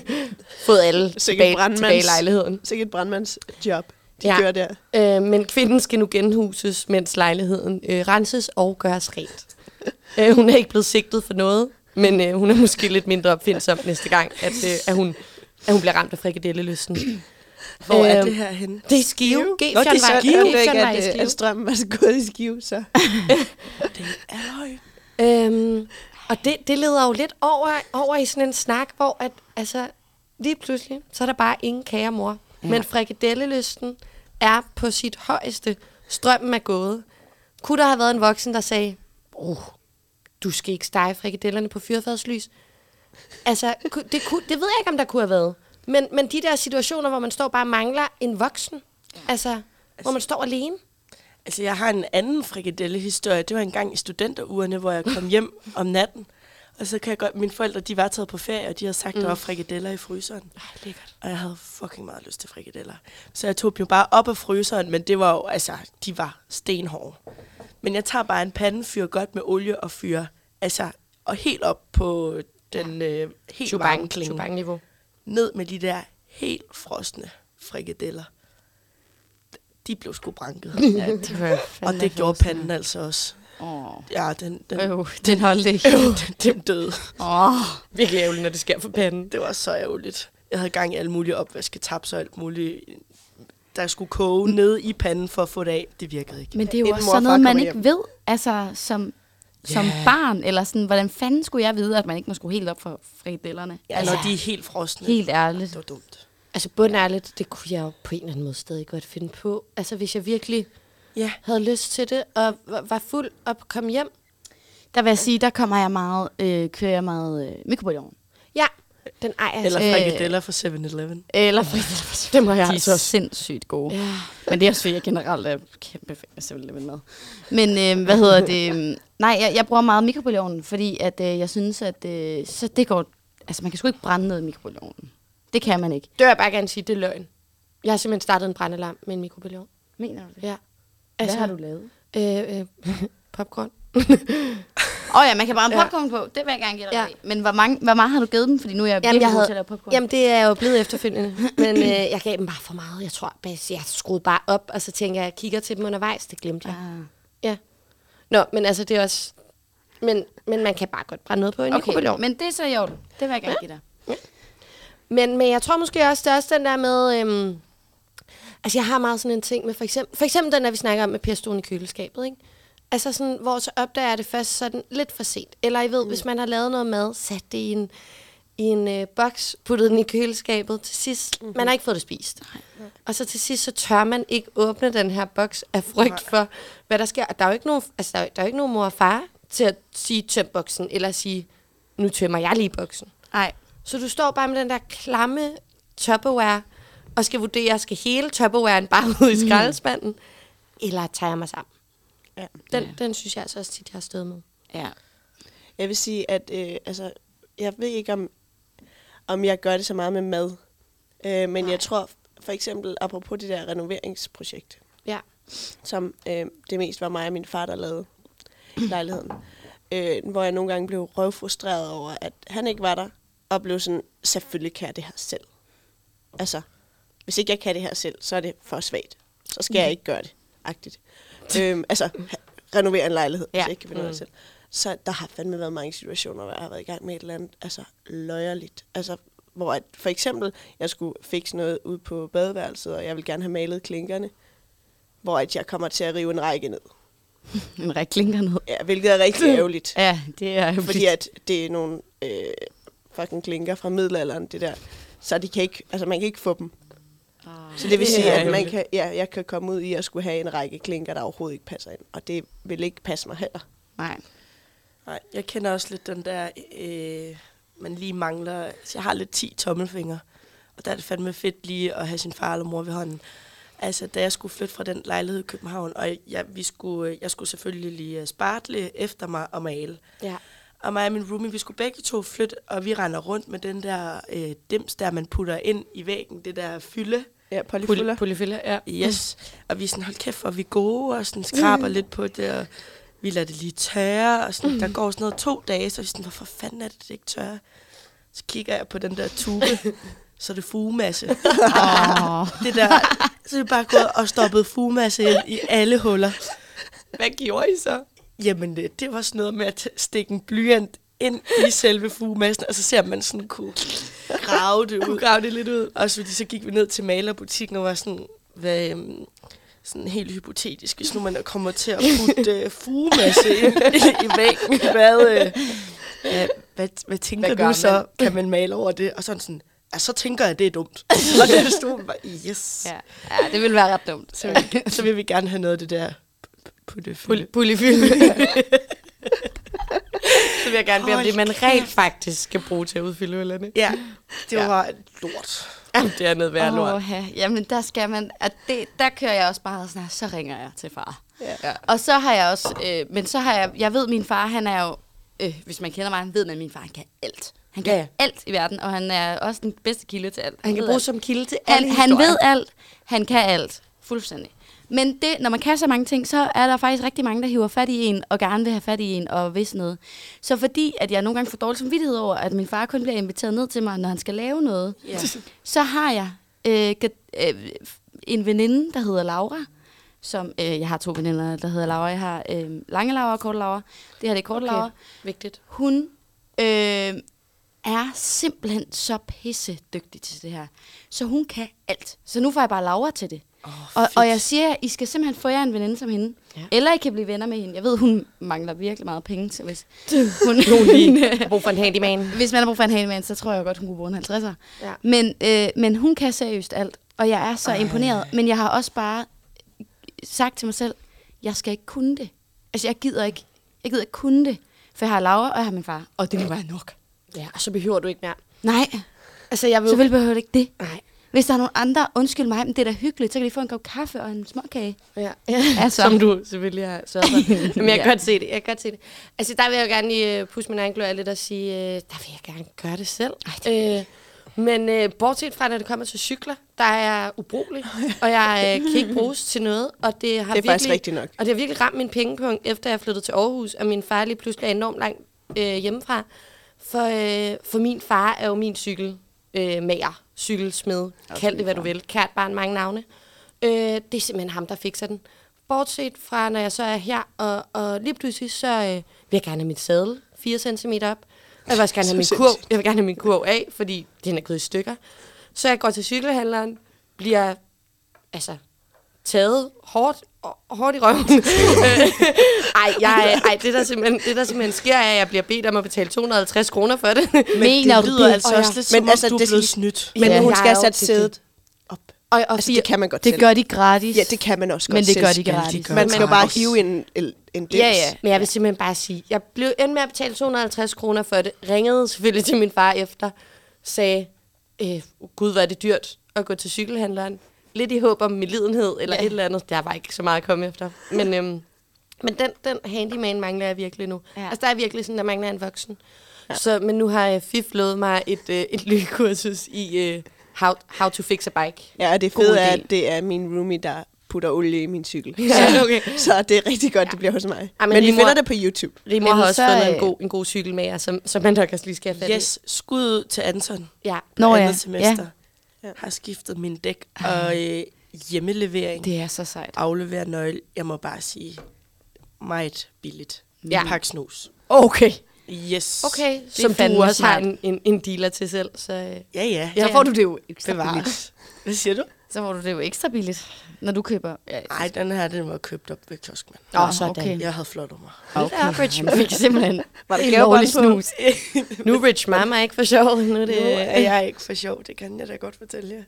Speaker 2: fået alle tilbage, tilbage i lejligheden.
Speaker 3: Sikkert et brandmandsjob, de
Speaker 2: Ja.
Speaker 3: ja. gør der.
Speaker 2: Øh, men kvinden skal nu genhuses, mens lejligheden øh, renses og gøres rent. øh, hun er ikke blevet sigtet for noget, men øh, hun er måske lidt mindre opfindsom næste gang, at, øh, at, hun, at hun bliver ramt af frikadellelysten.
Speaker 4: Hvor er
Speaker 2: Øhm,
Speaker 4: det her henne?
Speaker 2: Det er Skive.
Speaker 3: Nå, det er
Speaker 2: G-fjernvej.
Speaker 3: skive. Jeg ikke,
Speaker 2: G-fjernvej i
Speaker 3: at, øh, at strømmen var så gået i skive, så.
Speaker 2: Øhm, og det, det leder jo lidt over, over i sådan en snak, hvor at, altså, lige pludselig, så er der bare ingen kære mor. Ja. Men frikadellelysten er på sit højeste. Strømmen er gået. Kunne der have været en voksen, der sagde, oh, du skal ikke stege frikadellerne på fyrfadslys? Altså, ku- det, ku- det ved jeg ikke, om der kunne have været. Men, men de der situationer, hvor man står og bare og mangler en voksen. Altså, hvor man står alene.
Speaker 4: Altså, jeg har en anden frikadellehistorie. Det var en gang i studenterugerne, hvor jeg kom hjem om natten. Og så kan jeg godt... Mine forældre, de var taget på ferie, og de havde sagt, mm. der var frikadeller i fryseren.
Speaker 2: lækkert.
Speaker 4: Og jeg havde fucking meget lyst til frikadeller. Så jeg tog dem jo bare op af fryseren, men det var jo... Altså, de var stenhårde. Men jeg tager bare en pandefyr godt med olie og fyre. Altså, og helt op på den øh, helt varme
Speaker 2: Chubang,
Speaker 4: klinge
Speaker 2: Chubang-niveau.
Speaker 4: ned med de der helt frosne frikadeller. De blev sgu branket. ja, og det gjorde panden altså også.
Speaker 5: Åh,
Speaker 4: Ja, den, den,
Speaker 5: øh, den holdt ikke.
Speaker 4: den, den døde.
Speaker 5: Åh,
Speaker 2: Virkelig ærgerligt, når det sker for panden.
Speaker 4: Det var så ærgerligt. Jeg havde gang i alle mulige opvasketabs og alt muligt, der skulle koge ned i panden for at få det af. Det virkede ikke.
Speaker 5: men det er jo
Speaker 3: Inden
Speaker 5: også
Speaker 3: mor og
Speaker 5: sådan
Speaker 3: far
Speaker 5: noget, man
Speaker 3: kommer
Speaker 5: ikke ved, altså som, som barn, eller sådan, hvordan fanden skulle jeg vide, at man ikke må skulle helt op for fridellerne?
Speaker 4: Ja, når de er helt frosne.
Speaker 5: Helt
Speaker 4: Det
Speaker 5: ærligt.
Speaker 4: var dumt.
Speaker 2: Altså bundærligt, det kunne jeg jo på en eller anden måde stadig godt finde på. Altså hvis jeg virkelig
Speaker 4: Ja,
Speaker 2: havde lyst til det, og var- var fuld og kom hjem.
Speaker 5: Der vil jeg sige, der kommer jeg meget, øh, kører jeg meget øh, mikrobølgeovn.
Speaker 2: Ja, den ejer
Speaker 4: eller
Speaker 2: jeg.
Speaker 4: frikadeller fra 7-Eleven.
Speaker 5: Eller frikadeller.
Speaker 2: Det må jeg
Speaker 5: De
Speaker 2: altså
Speaker 5: er
Speaker 2: også.
Speaker 5: sindssygt gode.
Speaker 2: Ja.
Speaker 5: Men det er også fordi, jeg generelt er kæmpe fan af 7-Eleven mad. Men øh, hvad hedder det? øhm, Nej, jeg, jeg bruger meget mikrobølgeovnen, fordi at, øh, jeg synes, at øh, så det går... Altså, man kan sgu ikke brænde noget i mikrobølgeovnen. Det kan man ikke.
Speaker 2: Det vil jeg bare gerne sige, det er løgn. Jeg har simpelthen startet en brændalarm med en mikrobølgeovn.
Speaker 5: Mener du det?
Speaker 2: Ja.
Speaker 5: Altså, hvad har du lavet?
Speaker 2: Øh, øh, popcorn.
Speaker 5: Åh oh, ja, man kan brænde popcorn på. Det vil jeg gerne give dig
Speaker 2: Ja.
Speaker 5: ja. Men hvor, mange, hvor meget har du givet dem? Fordi nu er jeg virkelig god til at lave popcorn.
Speaker 2: jamen, det er jo blevet efterfølgende. Men øh, jeg gav dem bare for meget. Jeg tror, bare- jeg skruede bare op, og så tænker jeg, jeg kigger til dem undervejs. Det glemte jeg.
Speaker 5: Ah.
Speaker 2: Ja. Nå, men altså, det er også... Men, men man kan bare godt brænde noget på en mikrobølgeovn.
Speaker 5: Okay, men det er så i orden. Det vil jeg gerne give dig.
Speaker 2: Men, men jeg tror måske også, det er også den der med... Øhm, altså, jeg har meget sådan en ting med for eksempel... For eksempel den der, vi snakker om med pistolen i køleskabet, ikke? Altså sådan, hvor så opdager jeg det først sådan lidt for sent. Eller I ved, mm. hvis man har lavet noget mad, sat det i en, i en øh, boks, puttede den i køleskabet. Til sidst, mm-hmm. man har ikke fået det spist. Og så til sidst, så tør man ikke åbne den her boks af frygt for, hvad der sker. Og der er jo ikke nogen, altså, der er, der er jo ikke nogen mor og far til at sige, tøm boksen, eller sige, nu tømmer jeg lige boksen.
Speaker 5: Nej.
Speaker 2: Så du står bare med den der klamme Tupperware, og skal vurdere, skal hele Tupperwaren bare ud i skraldespanden, eller tager jeg mig sammen?
Speaker 3: Ja.
Speaker 2: Den, Mm. ja. den synes jeg altså også tit, jeg har stået med.
Speaker 5: Ja.
Speaker 3: Jeg vil sige, at øh, altså, jeg ved ikke, om, om jeg gør det så meget med mad. Øh, men Nej. jeg tror, for eksempel, apropos det der renoveringsprojekt,
Speaker 2: Ja.
Speaker 3: som øh, det mest var mig og min far, der lavede i lejligheden. Øh, hvor jeg nogle gange blev røvfrustreret over, at han ikke var der, og blev sådan, selvfølgelig kan jeg det her selv. Altså, hvis ikke jeg kan det her selv, så er det for svagt. Så skal jeg ikke gøre det, agtigt. øhm, altså, ha- renovere en lejlighed, ja. hvis
Speaker 5: Ja.
Speaker 3: jeg ikke kan finde ud af det selv. Så der har fandme været mange situationer, hvor jeg har været i gang med et eller andet, altså løjerligt. Altså, hvor at, for eksempel, jeg skulle fikse noget ud på badeværelset, og jeg vil gerne have malet klinkerne, hvor at jeg kommer til at rive en række ned.
Speaker 5: En række klinker ned.
Speaker 3: Ja, hvilket er rigtig ærgerligt.
Speaker 5: Ja, det er jo
Speaker 3: Fordi at det er nogle øh, fucking klinker fra middelalderen, det der. Så de kan ikke, altså man kan ikke få dem. Så det vil
Speaker 2: Det er
Speaker 3: sige, at man
Speaker 2: ærgerligt.
Speaker 3: kan, ja, jeg kan komme ud i at skulle have en række klinker, der overhovedet ikke passer ind. Og det vil ikke passe mig heller.
Speaker 5: Nej.
Speaker 4: Nej, jeg kender også lidt den der, øh, man lige mangler. Altså, jeg har lidt 10 tommelfingre, og der er det fandme fedt lige at have sin far eller mor ved hånden. Altså, da jeg skulle flytte fra den lejlighed i København, og jeg, vi skulle, jeg skulle selvfølgelig lige øh, spartle efter mig og male.
Speaker 2: Ja.
Speaker 4: Og mig og min roomie, vi skulle begge to flytte, og vi render rundt med den der øh, dims, der man putter ind i væggen, det der fylde.
Speaker 3: Ja, polyfyller.
Speaker 5: Polyfiller, ja.
Speaker 4: Yes. Og vi er sådan, hold kæft, hvor er vi gode, og sådan skraber lidt på det, og vi lader det lige tørre, og sådan, der går sådan noget to dage, så er vi sådan, hvorfor fanden er det, det ikke tørre? Så kigger jeg på den der tube, så er det fugemasse.
Speaker 5: Åh.
Speaker 4: Det der, så er vi bare gået og stoppet fugemasse ind i alle huller. Hvad gjorde I så? Jamen, øh, det, det var sådan noget med at t- stikke en blyant ind i selve fugemassen, og så ser man sådan kunne grave det ud. grave det lidt ud. Og så, så gik vi ned til malerbutikken og var sådan, hvad, øhm, sådan helt hypotetisk, hvis nu man kommer til at putte øh, fugemasse ind i væggen, hvad, øh, hvad, hvad, hvad tænker
Speaker 5: Hvad
Speaker 4: hvad
Speaker 5: gør
Speaker 4: du så?
Speaker 5: man?
Speaker 4: Kan man male over det? Og sådan sådan, ja, så tænker jeg, det er dumt. og det stod bare, yes.
Speaker 5: Ja. ja, det ville være ret dumt.
Speaker 4: Så, vil, så vil vi gerne have noget af det der på det fylde.
Speaker 5: Polyfiller.
Speaker 2: Så vil jeg gerne bede om det, man rent faktisk skal bruge til at udfylde hullerne.
Speaker 4: Ja, det var lort.
Speaker 2: Jamen, det er noget værd lort.
Speaker 5: Åh, ja. Jamen, der skal man... At det, der kører jeg også bare sådan her, så ringer jeg til far.
Speaker 3: Ja.
Speaker 5: Og så har jeg også... Øh, men så har jeg... Jeg ved, min far, han er jo... Øh, hvis man kender mig, han ved man, at min far, han kan alt. Han kan
Speaker 2: Ja,
Speaker 5: ja,
Speaker 2: ja.
Speaker 5: ja. alt i verden, og han er også den bedste kilde til alt.
Speaker 2: Han kan
Speaker 5: ved
Speaker 2: bruges
Speaker 5: alt.
Speaker 2: som kilde til alle
Speaker 5: han, han
Speaker 2: historier.
Speaker 5: ved alt. Han kan alt. Fuldstændig. Men det, når man kan så mange ting, så er der faktisk rigtig mange, der hiver fat i en, og gerne vil have fat i en, og hvis noget. Så fordi, at jeg nogle gange får dårlig samvittighed over, at min far kun bliver inviteret ned til mig, når han skal lave noget,
Speaker 4: Ja.
Speaker 5: så har jeg øh, gat- øh, en veninde, der hedder Laura, som, øh, jeg har to veninder, der hedder Laura. Jeg har øh, lange Laura og korte Laura. Det her det er korte okay. Laura.
Speaker 2: Vigtigt.
Speaker 5: Hun øh, er simpelthen så pissedygtig til det her. Så hun kan alt. Så nu får jeg bare Laura til det. Oh, og, og jeg siger, jer, I skal simpelthen få jer en veninde som hende.
Speaker 2: Ja.
Speaker 5: Ja. Eller I kan blive venner med hende. Jeg ved, hun mangler virkelig meget penge. Så hvis, hun, hun,
Speaker 2: Jeg har brug for en handyman.
Speaker 5: hvis man har brug for en handyman, så tror jeg godt, hun kunne bruge en 50'er.
Speaker 2: Ja.
Speaker 5: Men, øh, men hun kan seriøst alt, og jeg er så Ej. imponeret. Men jeg har også bare sagt til mig selv, jeg skal ikke kunne det. Altså, jeg gider ikke, jeg gider ikke kunne det. For jeg har Laura, og jeg har min far. Og det må være nok.
Speaker 2: Ja, og så behøver du ikke mere.
Speaker 5: Nej,
Speaker 2: Altså, jeg vil...
Speaker 5: selvfølgelig behøver det ikke det.
Speaker 2: Nej.
Speaker 5: Hvis der er nogen andre, undskyld mig, men det er da hyggeligt, så kan de få en kop kaffe og en småkage.
Speaker 2: Ja.
Speaker 5: Altså.
Speaker 2: Som du selvfølgelig har sørget for. Jamen, jeg kan
Speaker 5: Ja.
Speaker 2: godt se det. Jeg kan godt se det. Altså, der vil jeg jo gerne lige øh, pusse min egen glorie lidt og sige, øh, der vil jeg gerne gøre det selv. Ej, øh, men øh, bortset fra, når det kommer til cykler, der er jeg ubrugelig, og jeg øh, kan ikke bruges til noget. Og det, har
Speaker 3: Det er
Speaker 2: virkelig,
Speaker 3: faktisk rigtigt nok.
Speaker 2: Og det har virkelig ramt min pengepunkt, efter jeg flyttede til Aarhus, og min far lige pludselig er enormt langt øh, hjemmefra. For, øh, for min far er jo min cykel, øh, mager, cykelsmed, kald det hvad du vil, kært barn mange navne. Øh, det er simpelthen ham, der fikser den. Bortset fra, når jeg så er her, og, og lige pludselig, så øh, vil jeg gerne have mit sadel 4 cm op. Og jeg vil også gerne have min kurv. Jeg vil gerne have min kurv af, fordi den er gået i stykker. Så jeg går til cykelhandleren, bliver altså taget hårdt, hårdt i røven. Øh, ej, jeg, ej det, der simpelthen, det der simpelthen sker, er, at jeg bliver bedt om at betale 250 kroner for det.
Speaker 5: Mener
Speaker 4: det
Speaker 5: du
Speaker 4: lyder
Speaker 5: det?
Speaker 4: altså
Speaker 3: Og
Speaker 4: også
Speaker 3: ja.
Speaker 4: lidt
Speaker 3: Men
Speaker 4: som om,
Speaker 3: altså,
Speaker 4: du er
Speaker 3: det-
Speaker 4: blevet snydt.
Speaker 3: Men
Speaker 5: Ja.
Speaker 3: hun
Speaker 2: Jeg
Speaker 3: skal
Speaker 2: er jo
Speaker 3: sætte
Speaker 2: til
Speaker 3: sædet op.
Speaker 2: Og, og
Speaker 3: Altså, det kan man godt
Speaker 5: Det
Speaker 3: selv.
Speaker 5: gør de gratis.
Speaker 3: Ja, det kan man også godt
Speaker 5: Men det
Speaker 3: selv.
Speaker 5: gør de
Speaker 6: Ja, de
Speaker 5: gratis.
Speaker 6: gør
Speaker 3: Man skal jo bare
Speaker 6: gratis.
Speaker 3: hive en, en, en dims.
Speaker 5: Ja, ja.
Speaker 2: Men jeg vil simpelthen bare sige, jeg blev endt med at betale 250 kroner for det. Ringede selvfølgelig til min far efter. Sagde, øh, gud, hvor er det dyrt at gå til cykelhandleren. Lidt i håb om medlidenhed eller ja. et eller andet. Der var ikke så meget at komme efter. Men, øhm, men den, den handyman mangler jeg virkelig nu. Ja.
Speaker 5: Ja.
Speaker 2: Altså, der er virkelig sådan, der mangler en voksen. Ja. Så, men nu har jeg fiflet mig et, øh, et lykursus i øh, how, how to fix a bike.
Speaker 3: Ja, og det
Speaker 2: God
Speaker 3: fede er,
Speaker 2: idé.
Speaker 3: at det er min roomie, der putter olie i min cykel.
Speaker 2: Ja, okay.
Speaker 3: Så det er rigtig godt, ja. det bliver hos mig.
Speaker 2: Ej, men
Speaker 3: men, men vi
Speaker 2: min mor-
Speaker 3: finder det på YouTube.
Speaker 2: Rimor
Speaker 5: Jamen,
Speaker 2: har også
Speaker 5: så,
Speaker 2: fundet en
Speaker 5: øh,
Speaker 2: god, en god cykelmager, som, som man nok også lige skal have fat i.
Speaker 4: Yes, skud ud til Anton.
Speaker 2: Ja.
Speaker 5: Nå ja,
Speaker 4: andet semester.
Speaker 3: Ja.
Speaker 4: Ja. Har skiftet min dæk og øh, hjemmelevering. Det.
Speaker 5: Det er så sejt.
Speaker 4: Afleverer nøgle. Jeg må bare sige, meget billigt.
Speaker 2: Ja.
Speaker 4: Ja. Pak snus.
Speaker 5: Okay.
Speaker 4: Yes.
Speaker 2: Okay,
Speaker 5: er
Speaker 2: som du
Speaker 5: fandme
Speaker 2: også har
Speaker 5: smart.
Speaker 2: en, en, en dealer til selv. Så, øh,
Speaker 4: Ja, ja.
Speaker 5: Så
Speaker 2: Ja.
Speaker 5: får du det jo ekstra billigt.
Speaker 4: Bevares. Hvad siger du?
Speaker 5: Så får du det jo ekstra billigt, når du køber. Ja,
Speaker 4: Nej, den her, den var købt op ved Kioskmand.
Speaker 5: Nå, okay.
Speaker 4: Jeg havde flot mig.
Speaker 5: okay. Rich man fik simpelthen
Speaker 3: Var der
Speaker 5: en
Speaker 3: gavebånd
Speaker 5: lovlig
Speaker 3: på?
Speaker 5: snus.
Speaker 2: nu er Rich Mama ikke for sjov. Nu er det, øh,
Speaker 4: Nu er jeg ikke for sjov, det kan jeg da godt fortælle jer.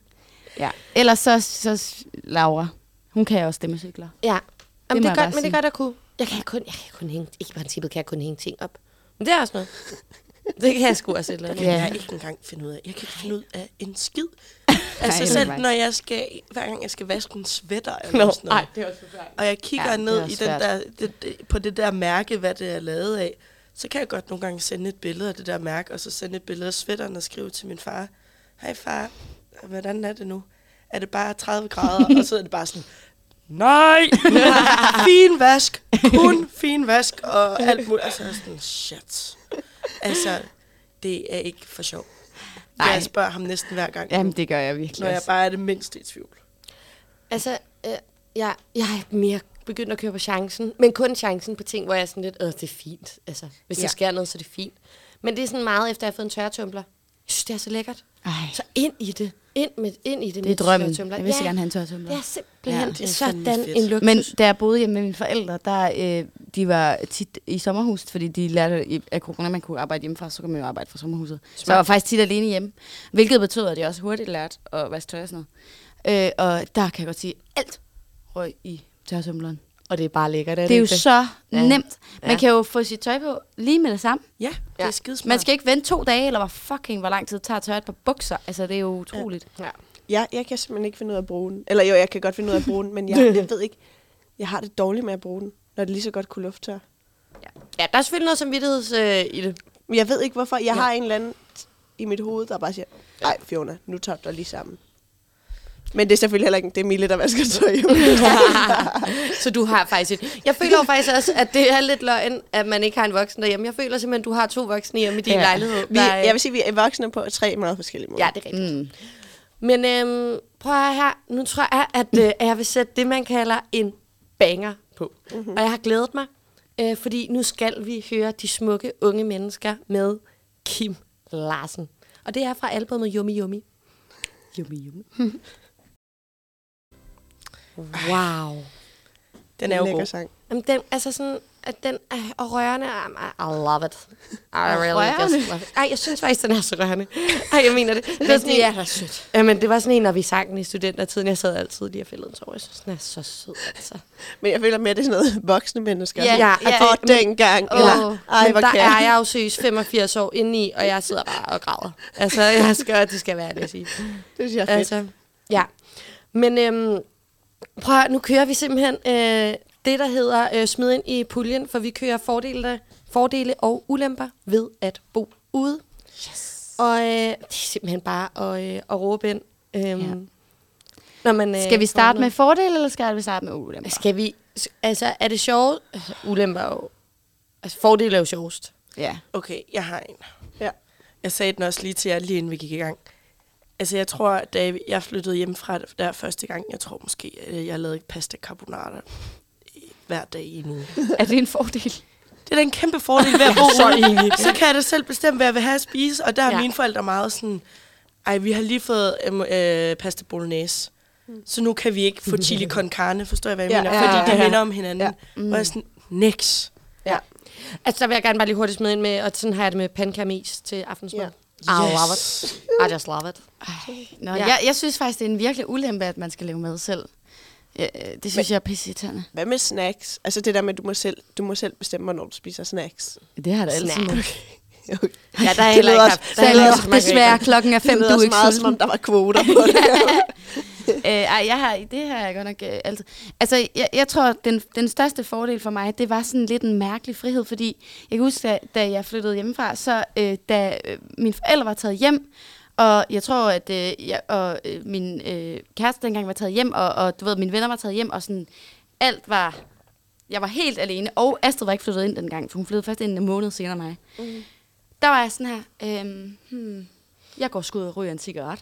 Speaker 5: Ja. Ellers så, så s- Laura, hun kan også det med cykler.
Speaker 2: ja. Jamen,
Speaker 5: må
Speaker 2: det,
Speaker 5: jeg
Speaker 2: er godt,
Speaker 5: bare
Speaker 2: men det er
Speaker 5: sige.
Speaker 2: godt at kunne. Jeg kan kun, jeg kan kun hænge, ikke i princippet kan jeg kun hænge ting op. Men det er også noget. Det kan jeg sgu også et eller andet.
Speaker 4: kan
Speaker 5: Ja.
Speaker 4: ja. jeg ikke engang finde ud af. Jeg kan ikke finde ud af en skid.
Speaker 5: det
Speaker 4: altså
Speaker 5: er
Speaker 4: selv
Speaker 5: mig.
Speaker 4: når jeg skal, hver gang jeg skal vaske en sweater eller
Speaker 2: Nå,
Speaker 4: sådan
Speaker 2: nej,
Speaker 4: noget,
Speaker 2: det er også forfærdeligt.
Speaker 4: og jeg kigger
Speaker 5: Ja,
Speaker 4: ja,
Speaker 5: det er
Speaker 4: ned i
Speaker 5: også
Speaker 4: den
Speaker 5: svært.
Speaker 4: der, det, det, på det der mærke, hvad det er lavet af, så kan jeg godt nogle gange sende et billede af det der mærke, og så sende et billede af sweateren og skrive til min far, hej far, hvordan er det nu? Er det bare 30 grader? og så er det bare sådan, nej, fin vask, kun fin vask, og alt muligt. Og så er jeg sådan, shit. Altså, det er ikke for sjov. Nej.
Speaker 5: Nej.
Speaker 4: Jeg spørger ham næsten hver gang,
Speaker 5: Jamen, det gør jeg
Speaker 4: når
Speaker 5: virkelig
Speaker 4: jeg
Speaker 5: også.
Speaker 4: bare er det mindste i tvivl.
Speaker 2: Altså, øh, jeg, jeg er mere begyndt at køre på chancen, men kun chancen på ting, hvor jeg er sådan lidt, øh, det er fint. Altså, hvis ja. der
Speaker 4: Ja.
Speaker 2: sker noget, så er det fint. Men det er sådan meget efter, at jeg har fået en tørretumbler. Jeg synes, det er så lækkert.
Speaker 5: Ej.
Speaker 2: Så ind i det. Ind, med, ind i det.
Speaker 5: Det er
Speaker 2: med
Speaker 5: drømmen.
Speaker 2: tørretumbler.
Speaker 5: Jeg vil så
Speaker 2: Ja.
Speaker 5: gerne have en tørretumbler.
Speaker 2: Ja, simpelthen.
Speaker 5: Ja,
Speaker 2: Ja,
Speaker 5: det
Speaker 4: er
Speaker 2: sådan
Speaker 4: fandme fedt.
Speaker 2: en luksus.
Speaker 5: Men da jeg boede hjemme med mine forældre, der, øh, de var tit i sommerhus, fordi de lærte i- af corona, man kunne arbejde hjemmefra, så kunne man jo arbejde fra sommerhuset. Smart. Så jeg var faktisk tit alene hjemme, hvilket betød, at jeg også hurtigt lærte at vaske tøj og sådan noget. Øh, og der kan jeg godt sige, alt røg i tørretumbleren.
Speaker 2: og det er bare lækkert,
Speaker 5: Det er jo så
Speaker 2: Ja.
Speaker 5: ja. nemt. Man
Speaker 2: Ja.
Speaker 5: ja. kan jo få sit tøj på lige med det samme.
Speaker 4: Ja, det
Speaker 2: Ja.
Speaker 4: er skidesmart.
Speaker 5: Man skal ikke vente to dage, eller hvor fucking hvor lang tid det tager at tørre et par bukser. Altså, det er jo utroligt. Ja.
Speaker 2: Ja.
Speaker 3: Ja, jeg kan simpelthen ikke finde ud af at bruge den. Eller jo, jeg kan godt finde ud af at bruge den, men jeg, jeg ved ikke, jeg har det dårligt med at bruge den, når det lige så godt kunne lufttør.
Speaker 2: ja, der er selvfølgelig noget samvittigheds øh, i det.
Speaker 3: Men jeg ved ikke, hvorfor. Jeg har en eller anden i mit hoved, der bare siger, nej Fiona, nu tager du dig lige sammen. Men det er selvfølgelig heller ikke, det er Mille, der vasker tøj.
Speaker 2: så du har faktisk et... Jeg føler jo faktisk også, at det er lidt løgn, at man ikke har en voksen derhjemme. Jeg føler simpelthen, at du har to voksne hjemme i din ja.
Speaker 5: Ja.
Speaker 2: lejlighed.
Speaker 3: vi,
Speaker 2: der, øh,
Speaker 3: jeg vil sige, vi er voksne på tre meget forskellige måder.
Speaker 2: Ja, det er rigtigt. Mm. Men øhm, prøv at høre her. Nu tror jeg, at øh, at jeg vil sætte det, man kalder en banger på.
Speaker 5: Mhm.
Speaker 2: Mm-hmm. Og jeg har glædet mig, øh, fordi nu skal vi høre de smukke unge mennesker med Kim Larsen. Og det er fra albumet Yummy Yummy.
Speaker 5: Yummy, yummy.
Speaker 2: Wow.
Speaker 4: Den er jo god.
Speaker 3: sang.
Speaker 2: Jamen, den, altså sådan, at den er og rørende. Um, I, I love it. I really
Speaker 5: Rørende?
Speaker 2: just love it. Ej, jeg synes faktisk, den er så rørende. Ej, jeg mener det. Det,
Speaker 5: Men
Speaker 2: var sådan
Speaker 5: det
Speaker 2: en-
Speaker 5: er da sødt.
Speaker 2: Jamen, det var sådan en, når vi sang den i studentertiden. Jeg sad altid lige og fældede en tår. Jeg synes, den er så sød, altså.
Speaker 3: Men jeg føler mere, det er sådan noget voksne mennesker.
Speaker 5: Ja,
Speaker 2: ja,
Speaker 3: ja. Og dengang.
Speaker 2: Åh,
Speaker 3: eller, ej,
Speaker 2: men
Speaker 3: hvor
Speaker 2: der
Speaker 3: kan
Speaker 2: er jeg jo seriøst 85 år indeni, og jeg sidder bare og græder. Altså, jeg skal, det skal være det, jeg siger.
Speaker 3: Det synes jeg er fedt.
Speaker 2: Altså, ja. Men øhm, prøv at, høre, nu kører vi simpelthen øh, det, der hedder øh, smid ind i puljen, for vi kører fordele, fordele og ulemper ved at bo ude. Yes. Og øh, det er simpelthen bare at, øh, at råbe ind. Øhm, ja.
Speaker 5: Ja.
Speaker 2: når man, øh,
Speaker 5: Skal vi
Speaker 2: får
Speaker 5: starte
Speaker 2: noget.
Speaker 5: med fordele, eller skal vi starte med ulemper?
Speaker 2: Skal vi... Altså, er det sjovt? Altså, Ulemper er jo... Altså, fordele er jo sjovest.
Speaker 5: Ja.
Speaker 4: Okay, jeg har en.
Speaker 3: Ja.
Speaker 4: Jeg sagde den også lige til jer, lige inden vi gik i gang. Altså, jeg tror, da jeg flyttede hjemmefra der første gang, jeg tror måske, øh, jeg lavede pasta carbonara i- hver dag i en uge.
Speaker 5: Er det en fordel?
Speaker 4: Det er da en kæmpe fordel ved at bo så, enig. så kan jeg da selv bestemme, hvad jeg vil have at spise. Og der er
Speaker 2: Ja.
Speaker 4: ja. mine forældre meget sådan, ej, vi har lige fået øhm, øh, pasta bolognese. Så nu kan vi ikke få chili con carne, forstår jeg, hvad jeg
Speaker 3: Ja,
Speaker 4: ja, mener?
Speaker 3: ja,
Speaker 4: Fordi
Speaker 3: ja,
Speaker 4: det
Speaker 3: ja.
Speaker 4: minder om hinanden.
Speaker 3: Ja.
Speaker 4: Ja. Mm. Og jeg er sådan, niks.
Speaker 3: Ja.
Speaker 2: Altså, der vil jeg gerne bare lige hurtigt smide ind med, og sådan har jeg det med pandekager med is til aftensmad.
Speaker 3: Ja.
Speaker 2: Yeah. I love it. I just love it.
Speaker 5: Nå,
Speaker 2: Ja.
Speaker 5: ja. jeg, jeg synes faktisk, det er en virkelig ulempe, at man skal lave mad selv. Ja, øh, det synes Men, jeg er pisseirriterende.
Speaker 3: Hvad med snacks? Altså det der med, at du må selv, du må selv bestemme, hvornår du spiser snacks.
Speaker 5: Det har der altid
Speaker 2: Snack.
Speaker 5: måttet.
Speaker 3: Okay.
Speaker 2: Ja, Mm. der er
Speaker 3: Det
Speaker 2: heller ikke
Speaker 3: lyder
Speaker 2: haft.
Speaker 3: også-
Speaker 2: Der er
Speaker 1: Så
Speaker 2: heller
Speaker 1: jeg
Speaker 2: ikke
Speaker 1: også
Speaker 2: haft mange
Speaker 1: desværre klokken er
Speaker 3: Det
Speaker 1: fem, du
Speaker 3: lyder
Speaker 1: er
Speaker 3: også
Speaker 1: ikke
Speaker 3: meget, som
Speaker 1: sulten.
Speaker 3: om der var kvoter på det.
Speaker 5: Øh, ej, jeg har, det har jeg godt nok øh, altid. Altså, jeg, jeg tror, den, den største fordel for mig, det var sådan lidt en mærkelig frihed, fordi jeg kan huske, da, da jeg flyttede hjemmefra, så øh, da øh, mine forældre var taget hjem, og jeg tror, at øh, jeg, og, øh, min øh, kæreste dengang var taget hjem, og, og du ved, mine venner var taget hjem, og sådan alt var... Jeg var helt alene, og Astrid var ikke flyttet ind dengang, for hun flyttede først ind en måned senere end mig. Mm. Der var jeg sådan her, øh, hmm, jeg går sgu ud og ryger en cigaret.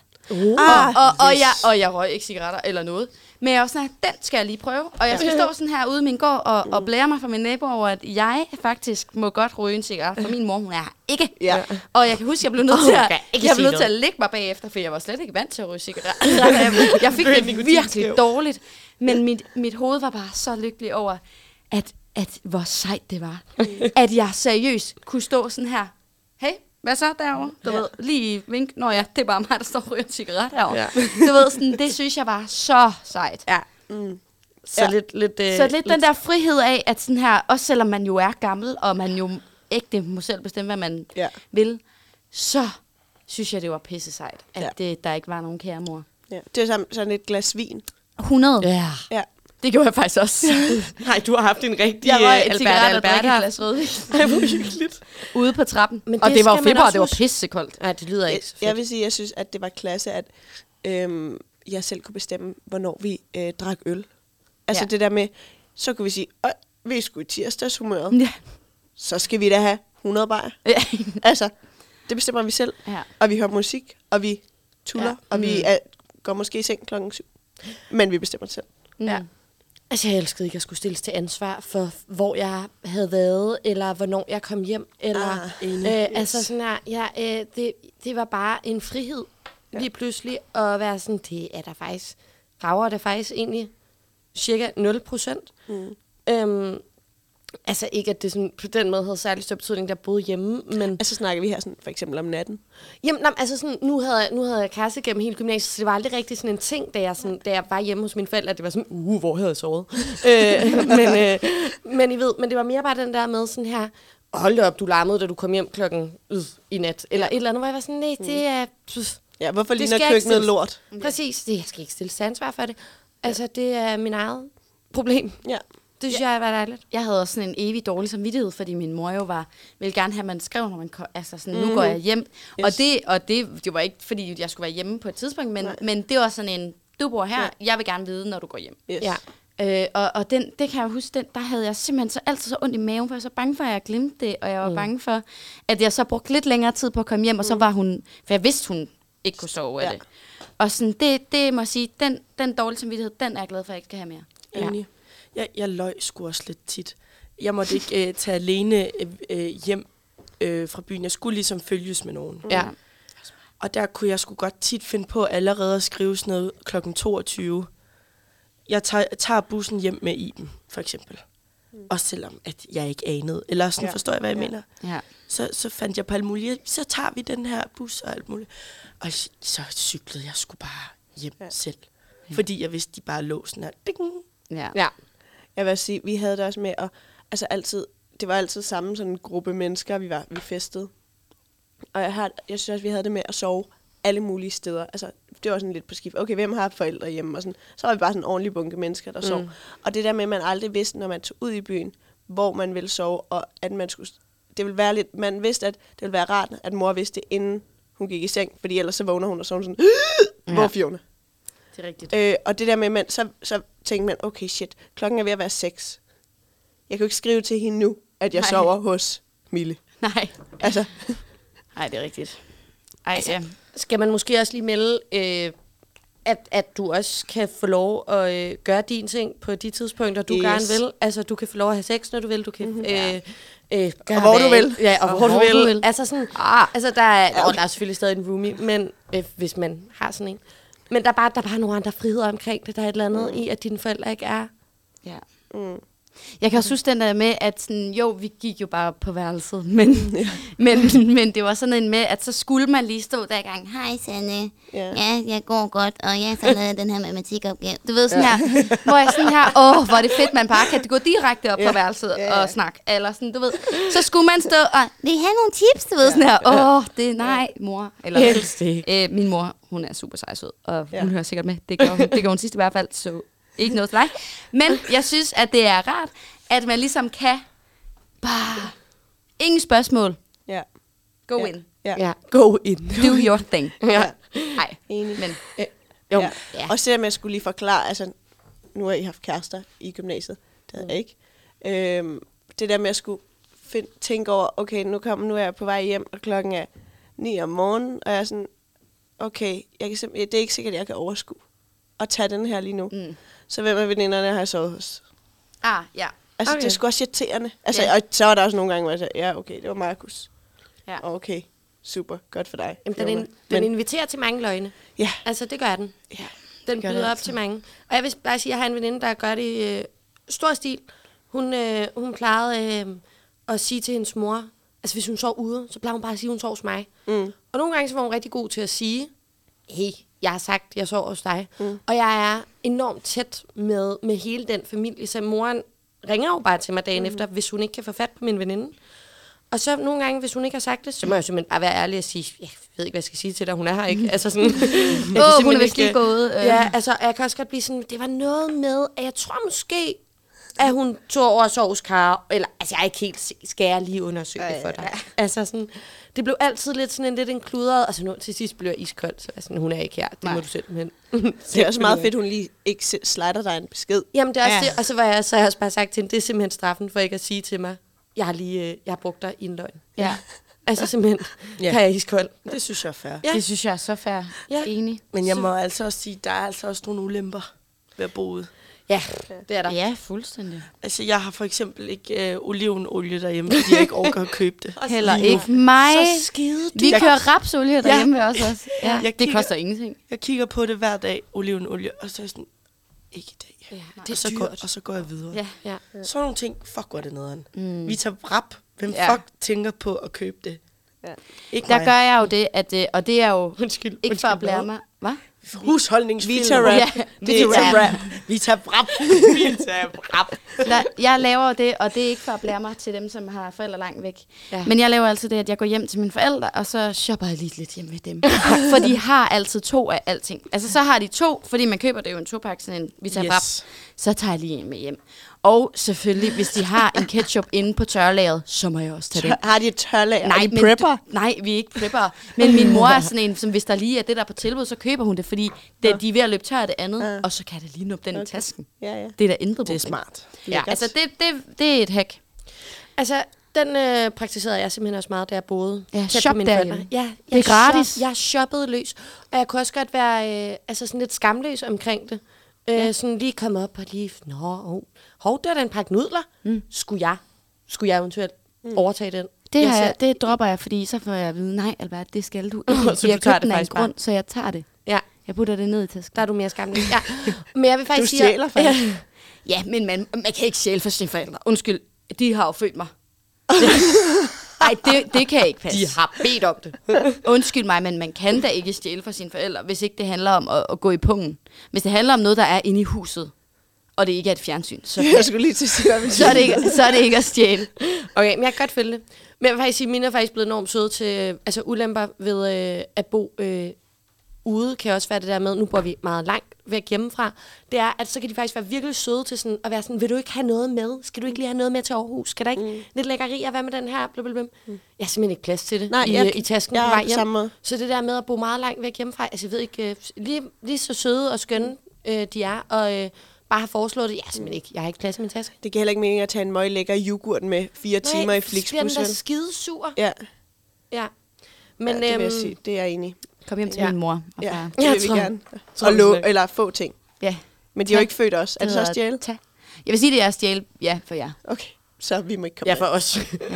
Speaker 3: Ah,
Speaker 5: Og, og, jeg, og jeg røg ikke cigaretter eller noget. Men jeg var sådan her, den skal jeg lige prøve. Og jeg skal stå sådan her ude i min gård og,
Speaker 2: Mm.
Speaker 5: og blære mig for min nabo over, at jeg faktisk må godt ryge en cigaret, for min mor, hun er her ikke.
Speaker 3: Ja.
Speaker 5: Og jeg kan huske, jeg blev nødt til,
Speaker 2: kan
Speaker 5: at,
Speaker 2: ikke
Speaker 5: jeg
Speaker 2: sige
Speaker 5: blev nødt til at
Speaker 2: noget.
Speaker 5: lægge mig bagefter, for jeg var slet ikke vant til at ryge cigaretter. Jeg- jeg fik det virkelig dårligt. Men mit, mit hoved var bare så lykkelig over, at, at hvor sejt det var. At jeg seriøst kunne stå sådan her, hey, hvad så derovre? Du ved, lige vink. Nå ja, det er bare mig, der står og ryger en cigaret derovre.
Speaker 4: Ja.
Speaker 5: Du ved, sådan, det synes jeg var så sejt. Ja.
Speaker 2: Så
Speaker 3: Ja.
Speaker 2: lidt, lidt, øh,
Speaker 5: Så lidt den der frihed af, at sådan her, også selvom man jo er gammel, og man jo ægte må selv bestemme, hvad man
Speaker 3: Ja.
Speaker 5: ja. vil, så synes jeg, det var pisse sejt,
Speaker 3: Ja.
Speaker 5: at ja. det, der ikke var nogen kære mor.
Speaker 3: ja. Det er sådan, sådan et glas vin.
Speaker 5: 100. Ja.
Speaker 3: Ja.
Speaker 5: Det gjorde jeg faktisk også.
Speaker 4: Nej, du har haft en rigtig
Speaker 5: jeg
Speaker 4: øh,
Speaker 5: røg en
Speaker 4: Alberta,
Speaker 5: cigaret og drak et
Speaker 4: Alberta.
Speaker 5: glas rødvin
Speaker 4: Ej, hvor hyggeligt.
Speaker 5: ude på trappen.
Speaker 2: Men
Speaker 5: og
Speaker 2: det
Speaker 5: det var jo
Speaker 2: skal man
Speaker 5: feber, og
Speaker 2: også
Speaker 5: det var
Speaker 2: huske.
Speaker 5: pisse koldt.
Speaker 2: Nej, det lyder
Speaker 3: Jeg,
Speaker 2: ikke så
Speaker 3: jeg
Speaker 2: fedt.
Speaker 3: vil sige, jeg synes, at det var klasse, at øhm, jeg selv kunne bestemme, hvornår vi øh, drak øl. Altså ja.
Speaker 5: Ja.
Speaker 3: det der med, så kunne vi sige, Åh, vi er sgu i tirsdagshumøret,
Speaker 5: Ja.
Speaker 3: så skal vi da have 100 bajer.
Speaker 5: Ja.
Speaker 3: Altså, det bestemmer vi selv.
Speaker 5: Ja.
Speaker 3: Og vi hører musik, og vi tuller, ja.
Speaker 5: Ja.
Speaker 3: og vi
Speaker 2: Mm.
Speaker 3: er, går måske i seng klokken syv. Men vi bestemmer selv.
Speaker 5: ja.
Speaker 2: Altså, jeg elskede ikke, at jeg skulle stilles til ansvar for, hvor jeg havde været, eller hvornår jeg kom hjem, eller...
Speaker 3: Ah, enig.
Speaker 2: øh, altså, sådan her, ja, øh, det, det var bare en frihed lige pludselig at være sådan, det er der faktisk... Rager det faktisk egentlig cirka 0 procent. Mm. Øhm, altså, ikke at det sådan, på den måde havde særlig stor betydning, der boede hjemme, men...
Speaker 3: Altså snakker vi her sådan, for eksempel om natten.
Speaker 2: Jamen, nej, altså sådan, nu havde, jeg- nu havde jeg kæreste gennem hele gymnasiet, så det var aldrig rigtig sådan en ting, da jeg, sådan, da jeg var hjemme hos mine forældre, at det var sådan, uh, hvor havde jeg sovet? øh, men, øh, men I ved, men det var mere bare den der med sådan her, hold da op, du larmede, da du kom hjem klokken øh, i nat, eller et eller andet, hvor jeg var sådan, nej, det er, pff,
Speaker 3: Ja, hvorfor
Speaker 2: Det
Speaker 3: ligner
Speaker 2: skal jeg ikke
Speaker 3: køkkenet
Speaker 2: selv-
Speaker 3: lort?
Speaker 2: præcis, det, jeg skal ikke stille ansvar for det. Altså, det er min eget problem.
Speaker 3: Ja.
Speaker 2: Det synes jeg var dejligt.
Speaker 5: Jeg havde også sådan en evig dårlig samvittighed, fordi min mor jo var, ville gerne have, at man skrev, når man kom, altså sådan, nu går jeg hjem. Yes. Og, det, og det, det var ikke, fordi jeg skulle være hjemme på et tidspunkt, men, men det var sådan en, du bor her, jeg vil gerne vide, når du går hjem.
Speaker 3: Yes.
Speaker 2: Ja.
Speaker 5: Øh, og og den, det kan jeg huske, den, der havde jeg simpelthen så altid så ondt i maven, for jeg var så bange for, at jeg glemte det, og jeg var mm. bange for, at jeg så brugte lidt længere tid på at komme hjem, og så var hun, for jeg vidste, hun ikke kunne sove af
Speaker 3: Ja.
Speaker 5: ja. det. Og sådan, det, det må jeg sige, den, den dårlige samvittighed, den er jeg glad for, at jeg ikke skal have mere.
Speaker 4: Enig. Jeg, jeg løj sgu også lidt tit. Jeg måtte ikke øh, tage alene øh, øh, hjem øh, fra byen. Jeg skulle ligesom følges med nogen.
Speaker 5: Ja.
Speaker 4: Og der kunne jeg sgu godt tit finde på allerede at skrive sådan noget kl. 22. Jeg tager, tager bussen hjem med Iben, for eksempel. Mm. Også selvom, at jeg ikke anede. Eller sådan
Speaker 3: Ja.
Speaker 4: ja. forstår jeg, hvad jeg ja. mener.
Speaker 5: Ja.
Speaker 4: Så, så fandt jeg på alt muligt. Så tager vi den her bus og alt muligt. Og s- så cyklede jeg sgu bare hjem ja. selv. Fordi jeg vidste, de bare lå sådan her. Ding.
Speaker 5: Ja.
Speaker 2: Ja.
Speaker 3: Jeg vil også sige, vi havde det også med at, altså altid, det var altid samme sådan en gruppe mennesker, vi var, vi festede. Og jeg, har, jeg synes også, vi havde det med at sove alle mulige steder. Altså, det var sådan lidt på skift. Okay, hvem har forældre hjemme? Og sådan. Så var vi bare sådan en ordentlig bunke mennesker, der sov. Og det der med, at man aldrig vidste, når man tog ud i byen, hvor man ville sove, og at man skulle... Det ville være lidt... Man vidste, at det ville være rart, at mor vidste det, inden hun gik i seng. Fordi ellers så vågner hun og sover sådan... Hvor er Fiona?
Speaker 5: Det er rigtigt.
Speaker 3: Øh, og det der med, man, så, så tænkte man, okay shit, klokken er ved at være seks. Jeg kan jo ikke skrive til hende nu, at jeg Nej.
Speaker 5: Nej.
Speaker 3: sover hos Mille.
Speaker 5: Nej.
Speaker 3: Altså,
Speaker 5: Nej, det er rigtigt. Ej, altså, ja.
Speaker 2: Skal man måske også lige melde, øh, at, at du også kan få lov at øh, gøre din ting på de tidspunkter, du
Speaker 3: Yes.
Speaker 2: yes. gerne vil. Altså, du kan få lov at have sex, når du vil. Du kan mm-hmm. øh, øh, gøre
Speaker 3: Og hvor
Speaker 2: hvad-
Speaker 3: du vil.
Speaker 2: Ja, og, og hvor, hvor du, vil. vil. Altså, sådan, ah. altså der, er,
Speaker 3: Ja,
Speaker 2: ja,
Speaker 3: okay.
Speaker 2: okay. der er selvfølgelig stadig en roomie, men øh, hvis man har sådan en. Men der er, bare, der er bare nogle andre friheder omkring det. Der er et eller andet
Speaker 3: Mm.
Speaker 2: i, at dine forældre ikke er.
Speaker 5: Ja. Mm. Jeg kan også huske den der med, at sådan, jo, vi gik jo bare på værelset, men, men, men det var sådan en med, at så skulle man lige stå der i gang. Hej Sanne,
Speaker 3: Ja.
Speaker 5: ja. ja, jeg går godt, og jeg har så lavet den her matematikopgave. Du ved sådan ja. her, hvor jeg sådan her, åh, hvor er det fedt, man bare kan gå direkte op ja. på værelset ja, ja. og snakke. Eller sådan, du ved, så skulle man stå og, vil I have nogle tips? Du ved ja. sådan her, åh, det er nej, mor. Eller,
Speaker 4: Helst ikke.
Speaker 5: Øh, min mor, hun er super sej og sød, og hun
Speaker 3: Ja.
Speaker 5: hører sikkert med. Det gør hun, det gør hun sidst i hvert fald, så ikke noget til dig. Men jeg synes, at det er rart, at man ligesom kan bare... Ingen spørgsmål.
Speaker 3: Ja.
Speaker 5: Go
Speaker 3: Ja.
Speaker 5: in.
Speaker 3: Ja.
Speaker 2: Ja.
Speaker 4: Go in.
Speaker 5: Do your thing.
Speaker 2: Ja.
Speaker 5: Nej,
Speaker 3: Enig.
Speaker 5: men
Speaker 4: Jo.
Speaker 3: Ja.
Speaker 5: Ja.
Speaker 3: Og selvom jeg skulle lige forklare, altså, nu har I haft kærester i gymnasiet, det havde jeg ikke. Øhm, det der med at skulle find, tænke over, okay, nu, kom, nu er jeg på vej hjem, og klokken er 9 om morgenen, og jeg er sådan, okay, jeg kan simp- det er ikke sikkert, at jeg kan overskue at tage den her lige nu. Mm. Så hvem af veninderne har jeg sovet hos?
Speaker 5: ah, ja.
Speaker 3: Altså, okay.
Speaker 2: Okay.
Speaker 3: det er sgu også irriterende. Altså,
Speaker 5: Ja.
Speaker 3: yeah. og så var der også nogle gange, hvor jeg sagde, ja, okay, det var Markus.
Speaker 5: Ja.
Speaker 3: Og Okay, super, godt for dig.
Speaker 2: Jamen, den,
Speaker 3: Fiona.
Speaker 2: in, den
Speaker 3: Men-
Speaker 2: inviterer til mange løgne.
Speaker 3: Ja.
Speaker 2: Altså, det gør den.
Speaker 3: Ja.
Speaker 2: Den byder op til mange. Og jeg vil bare sige, at jeg har en veninde, der gør det i øh, stor stil. Hun, øh, hun plejede øh, at sige til hendes mor, altså hvis hun sov ude, så plejede hun bare at sige, at hun sov hos mig. Mm. Og nogle gange så var hun rigtig god til at sige, hey, jeg har sagt, jeg sov hos dig. Mm. Og jeg er enormt tæt med, med hele den familie, så moren ringer jo bare til mig dagen mm. efter, hvis hun ikke kan få fat på min veninde. Og så nogle gange, hvis hun ikke har sagt det, så må jeg simpelthen bare være ærlig og sige, jeg ved ikke, hvad jeg skal sige til dig, hun er her ikke. Altså sådan,
Speaker 5: Åh, oh, hun er vist lige gået. Øh.
Speaker 2: Ja, altså, jeg kan også godt blive sådan, det var noget med, at jeg tror måske, at hun tog over sovskar, eller, altså, jeg er ikke helt, se- skal jeg lige undersøge det for dig? Altså, sådan, det blev altid lidt sådan en, lidt en kludret, altså, nu, til sidst blev jeg iskold, så jeg sådan, hun er ikke her, det Nej. må du simpelthen.
Speaker 3: Det er også meget fedt, hun lige ikke se- slider dig en besked.
Speaker 2: Jamen, det er også ja. det, og så var jeg, så har jeg også bare sagt til hende, det er simpelthen straffen for ikke at sige til mig, jeg har lige, øh, jeg har brugt dig i en løgn.
Speaker 5: ja.
Speaker 2: Altså, simpelthen,
Speaker 4: Ja.
Speaker 2: ja. kan jeg er iskold.
Speaker 4: Det synes jeg er fair.
Speaker 2: Ja.
Speaker 5: Det synes jeg er så fair.
Speaker 2: Ja.
Speaker 5: Ja. Enig.
Speaker 4: Men jeg må altså også sige, der er altså også nogle ulemper ved at bo ude.
Speaker 2: Ja, det er der.
Speaker 5: Ja, fuldstændig.
Speaker 4: Altså, jeg har for eksempel ikke øh, olivenolie derhjemme, fordi jeg ikke overgår at købe det.
Speaker 5: Heller ikke mig.
Speaker 4: Så skide
Speaker 5: Vi
Speaker 4: dyrt.
Speaker 5: kører rapsolie derhjemme ja. også. også. Ja.
Speaker 4: Jeg
Speaker 5: Det
Speaker 4: kigger-
Speaker 5: koster ingenting.
Speaker 4: Jeg kigger på det hver dag, olivenolie, og så er jeg sådan, ikke i dag. Ja,
Speaker 2: det er
Speaker 4: og, så
Speaker 2: dyrt.
Speaker 4: går, og så går jeg videre. Ja.
Speaker 2: Ja.
Speaker 4: Sådan nogle ting, fuck, hvor er det nederen. Mm. Vi tager rap. Hvem
Speaker 5: Ja.
Speaker 4: ja. fuck tænker på at købe det?
Speaker 3: Ja.
Speaker 4: Ikke
Speaker 5: Der
Speaker 4: mig.
Speaker 5: gør jeg jo det, at, øh, og det er jo
Speaker 4: Undskyld,
Speaker 5: ikke for
Speaker 4: undskyld,
Speaker 5: at blære
Speaker 4: hvad?
Speaker 5: mig. Hvad?
Speaker 4: Husholdningsfilm.
Speaker 3: Vita rap.
Speaker 5: Ja,
Speaker 4: Vita
Speaker 5: Vita
Speaker 4: rap. Vita rap. Vita rap.
Speaker 5: Der, jeg laver jo det, og det er ikke for at blære mig til dem, som har forældre langt væk. Ja. Men jeg laver altid det, at jeg går hjem til mine forældre, og så shopper jeg lige lidt hjemme ved dem. for de har altid to af alting. Altså, så har de to, fordi man køber det jo en topak, sådan en Vita
Speaker 4: Yes.
Speaker 5: yes. Så tager jeg lige en med hjem. Og selvfølgelig, hvis de har en ketchup inde på tørlaget, så må jeg også tage den.
Speaker 3: Har de et tørlag?
Speaker 5: Nej,
Speaker 3: er de
Speaker 5: men-
Speaker 3: prepper?
Speaker 5: Nej, vi er ikke prepper. Men min mor er sådan en, som hvis der lige er det der på tilbud, så køber hun det, fordi det, de er ved at løbe tør af det andet, og så kan det lige nuppe den okay. i tasken.
Speaker 3: Ja, ja.
Speaker 5: Det er der intet
Speaker 4: Det er
Speaker 5: problem.
Speaker 4: smart.
Speaker 5: Ja, altså det, det, det er et hack.
Speaker 2: Altså, den øh, praktiserede jeg simpelthen også meget, da jeg boede.
Speaker 5: Ja,
Speaker 2: tæt på
Speaker 5: shop
Speaker 2: mine
Speaker 5: derhjemme.
Speaker 2: forældre. Ja, jeg
Speaker 5: Det er gratis.
Speaker 2: Shop, jeg shoppede løs. Og jeg kunne også godt være øh, altså sådan lidt skamløs omkring det. Øh, ja. Sådan lige komme op og lige, nå, hov, hov der er da en pakke nudler. Mm. Skulle jeg, skulle jeg eventuelt mm. overtage den?
Speaker 5: Det,
Speaker 2: Jeg
Speaker 5: har jeg,
Speaker 2: selv.
Speaker 5: det dropper jeg, fordi så får jeg at vide, nej Albert, det skal du ikke.
Speaker 2: Så
Speaker 5: så
Speaker 2: du
Speaker 5: jeg
Speaker 2: tager
Speaker 5: købte
Speaker 2: det
Speaker 5: den af en
Speaker 2: faktisk bare?
Speaker 5: grund, så jeg tager det.
Speaker 2: Ja,
Speaker 5: Jeg putter det ned i tasken.
Speaker 2: der er du mere skamløs. Ja. Men jeg vil faktisk sige...
Speaker 3: stjæler faktisk.
Speaker 2: Ja.
Speaker 5: Ja, men man, man kan ikke sjæle for sine forældre. Undskyld, de har jo født mig. Nej, det, det kan ikke passe. De har bedt om det. Undskyld mig, men man kan da ikke stjæle fra sine forældre, hvis ikke det handler om at, at gå i pungen. Hvis det handler om noget, der er inde i huset, og det ikke er et fjernsyn, så,
Speaker 3: Jeg skulle lige til at sige, hvad vi
Speaker 5: så, er, det ikke, så er det ikke at stjæle.
Speaker 2: Okay, men jeg kan godt følge det. Men jeg vil faktisk sige, at mine er faktisk blevet enormt søde til øh, altså ulemper ved øh, at bo øh, ude, kan også være det der med, nu bor vi meget langt væk hjemmefra, det er, at så kan de faktisk være virkelig søde til sådan, at være sådan, vil du ikke have noget med? Skal du ikke lige have noget med til Aarhus? Skal der ikke mm. lidt lækkerier være med den her? Blub, blub, blub. Mm. Jeg har simpelthen ikke plads til det
Speaker 3: Nej,
Speaker 2: i,
Speaker 3: jeg-
Speaker 2: øh, i tasken
Speaker 3: jeg
Speaker 2: på
Speaker 3: er
Speaker 2: vej
Speaker 3: på
Speaker 2: hjem.
Speaker 3: samme måde.
Speaker 2: Så det der med at bo meget langt væk hjemmefra, altså jeg ved ikke, øh, lige, lige så søde og skønne øh, de er, og øh, bare har foreslået det, jeg har simpelthen ikke, jeg har ikke plads i min taske.
Speaker 3: Det giver heller ikke mening at tage en møg lækker yoghurt med fire timer i Flixbus.
Speaker 2: Nej,
Speaker 3: vel?
Speaker 2: skide sur.
Speaker 3: Ja,
Speaker 2: Ja.
Speaker 3: men,
Speaker 2: Men,
Speaker 3: ja, det vil jeg
Speaker 2: øhm,
Speaker 3: sige. Det er jeg enig i.
Speaker 5: Kom hjem til
Speaker 2: Ja.
Speaker 5: min mor og
Speaker 3: Ja,
Speaker 5: far.
Speaker 3: det
Speaker 2: Jeg
Speaker 3: vil
Speaker 2: tror-
Speaker 3: vi gerne.
Speaker 2: tror
Speaker 3: Og
Speaker 2: det
Speaker 3: lå,
Speaker 2: slet.
Speaker 3: eller få ting.
Speaker 5: Ja.
Speaker 3: Men de har jo
Speaker 5: Tak.
Speaker 3: ikke født os. Er det så også
Speaker 5: hedder
Speaker 3: stjæle?
Speaker 5: tag. Jeg vil sige, det er at stjæle, ja, for jer.
Speaker 3: Okay, så vi må ikke komme
Speaker 2: Ja,
Speaker 3: ind.
Speaker 2: for os.
Speaker 5: Ja.
Speaker 3: Kan du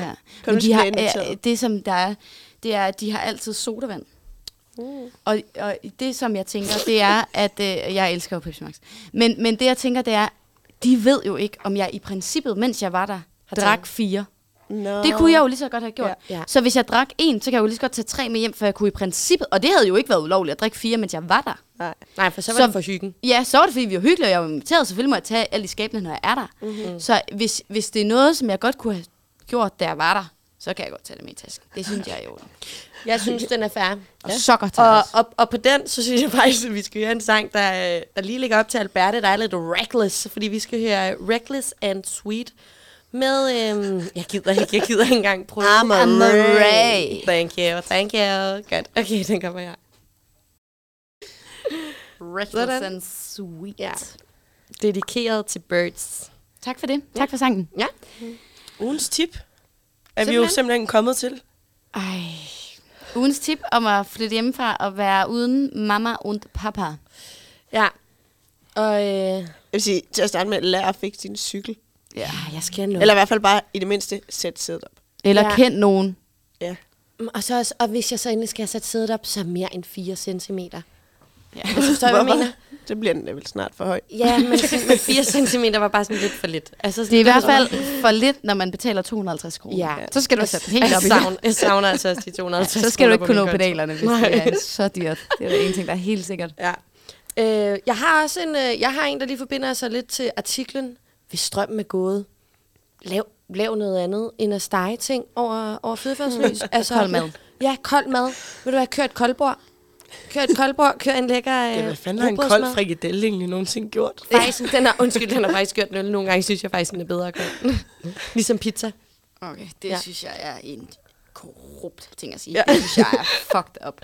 Speaker 5: Men de
Speaker 3: ikke
Speaker 5: har,
Speaker 3: blive inviteret?
Speaker 5: øh, det, som der er, det er, at de har altid sodavand. Og, og det, som jeg tænker, det er, at øh, jeg elsker jo Pepsi Max. Men, men det, jeg tænker, det er, de ved jo ikke, om jeg i princippet, mens jeg var der, har drak fire.
Speaker 3: Nå.
Speaker 5: Det kunne jeg jo lige så godt have gjort.
Speaker 2: Ja.
Speaker 5: Ja,
Speaker 2: Ja.
Speaker 5: ja. Så hvis jeg drak en, så kan jeg jo lige så godt tage tre med hjem, for jeg kunne i princippet... Og det havde jo ikke været ulovligt at drikke fire, mens jeg var der.
Speaker 3: Nej.
Speaker 2: Nej, for så var
Speaker 5: Så-
Speaker 2: det for hyggen.
Speaker 5: Ja, så var det, fordi vi var hyggelige, og jeg var inviteret. Selvfølgelig må jeg tage alle de skabene, når jeg er der.
Speaker 2: Mhm.
Speaker 5: Mm-hmm. Så hvis, hvis det er noget, som jeg godt kunne have gjort, da jeg var der, så kan jeg godt tage det med i tasken. Det synes jeg er jo.
Speaker 2: Jeg synes, den er fair.
Speaker 5: Og sokker til
Speaker 2: Og,
Speaker 5: os.
Speaker 2: og, og på den, så synes jeg faktisk, at vi skal høre en sang, der, øh, der lige ligger op til Alberte, der er lidt reckless, fordi vi skal høre Reckless and Sweet med, øhm, jeg gider ikke, jeg gider ikke engang prøve.
Speaker 3: I'm a
Speaker 5: Amaray.
Speaker 2: Thank you, thank you. Godt, okay, den kommer her.
Speaker 5: Reckless
Speaker 2: Sådan.
Speaker 5: and sweet.
Speaker 2: Ja. Dedikeret til birds.
Speaker 5: Tak for det. Tak for sangen.
Speaker 2: Ja,
Speaker 4: Ugens tip er vi jo
Speaker 2: Simpelthen.
Speaker 4: simpelthen kommet til.
Speaker 5: Ej. Ugens tip om at flytte hjemmefra og være uden mamma und papa.
Speaker 2: ja. Og øh,
Speaker 3: Jeg vil sige, til at starte med, lær at fikse din cykel.
Speaker 5: Ja.
Speaker 2: jeg skal nå.
Speaker 3: Eller i hvert fald bare, i det mindste, sæt sædet op.
Speaker 5: Eller
Speaker 2: Ja.
Speaker 5: ja. kend nogen.
Speaker 3: Ja.
Speaker 2: Mm, Og, så også, og hvis jeg så endelig skal have sat sædet op, så mere end 4 cm. Ja. Altså, forstår I, hvad jeg
Speaker 3: Hvorfor?
Speaker 2: mener?
Speaker 3: Det bliver den da vel snart for høj.
Speaker 2: Ja, men, men 4 cm var bare sådan lidt for lidt. Altså, sådan
Speaker 5: Det er i hvert
Speaker 2: lidt-
Speaker 5: fald for lidt, når man betaler 250 kroner.
Speaker 2: Ja.
Speaker 5: Så skal du sætte den helt
Speaker 2: Jeg
Speaker 5: op igen.
Speaker 2: savner, jeg savner altså også de 250
Speaker 5: Så skal du
Speaker 2: kroner på
Speaker 5: ikke kunne nå
Speaker 2: min konto.
Speaker 5: pedalerne, hvis det er så dyrt. Det er der en ting, der er helt sikkert.
Speaker 2: Ja. Øh, jeg har også en, øh, jeg har en, der lige forbinder sig lidt til artiklen, hvis strømmen er gået, lav, lav noget andet end at stege ting over, over fedefærdslys. altså,
Speaker 5: Kold mad.
Speaker 2: Ja, kold mad. Vil du have kørt koldbord? Kør et koldbord, kør en lækker øh,
Speaker 4: Ja, hvad fanden har en
Speaker 2: rugbrødsmad.
Speaker 4: kold frikadelle egentlig nogensinde gjort?
Speaker 2: Faktisk, den er, undskyld, den har faktisk gjort noget. Nogle gange synes jeg faktisk, den er bedre at gøre. ligesom pizza.
Speaker 5: Okay, det
Speaker 2: Ja.
Speaker 5: synes jeg er en korrupt ting at sige. Det synes jeg er fucked up.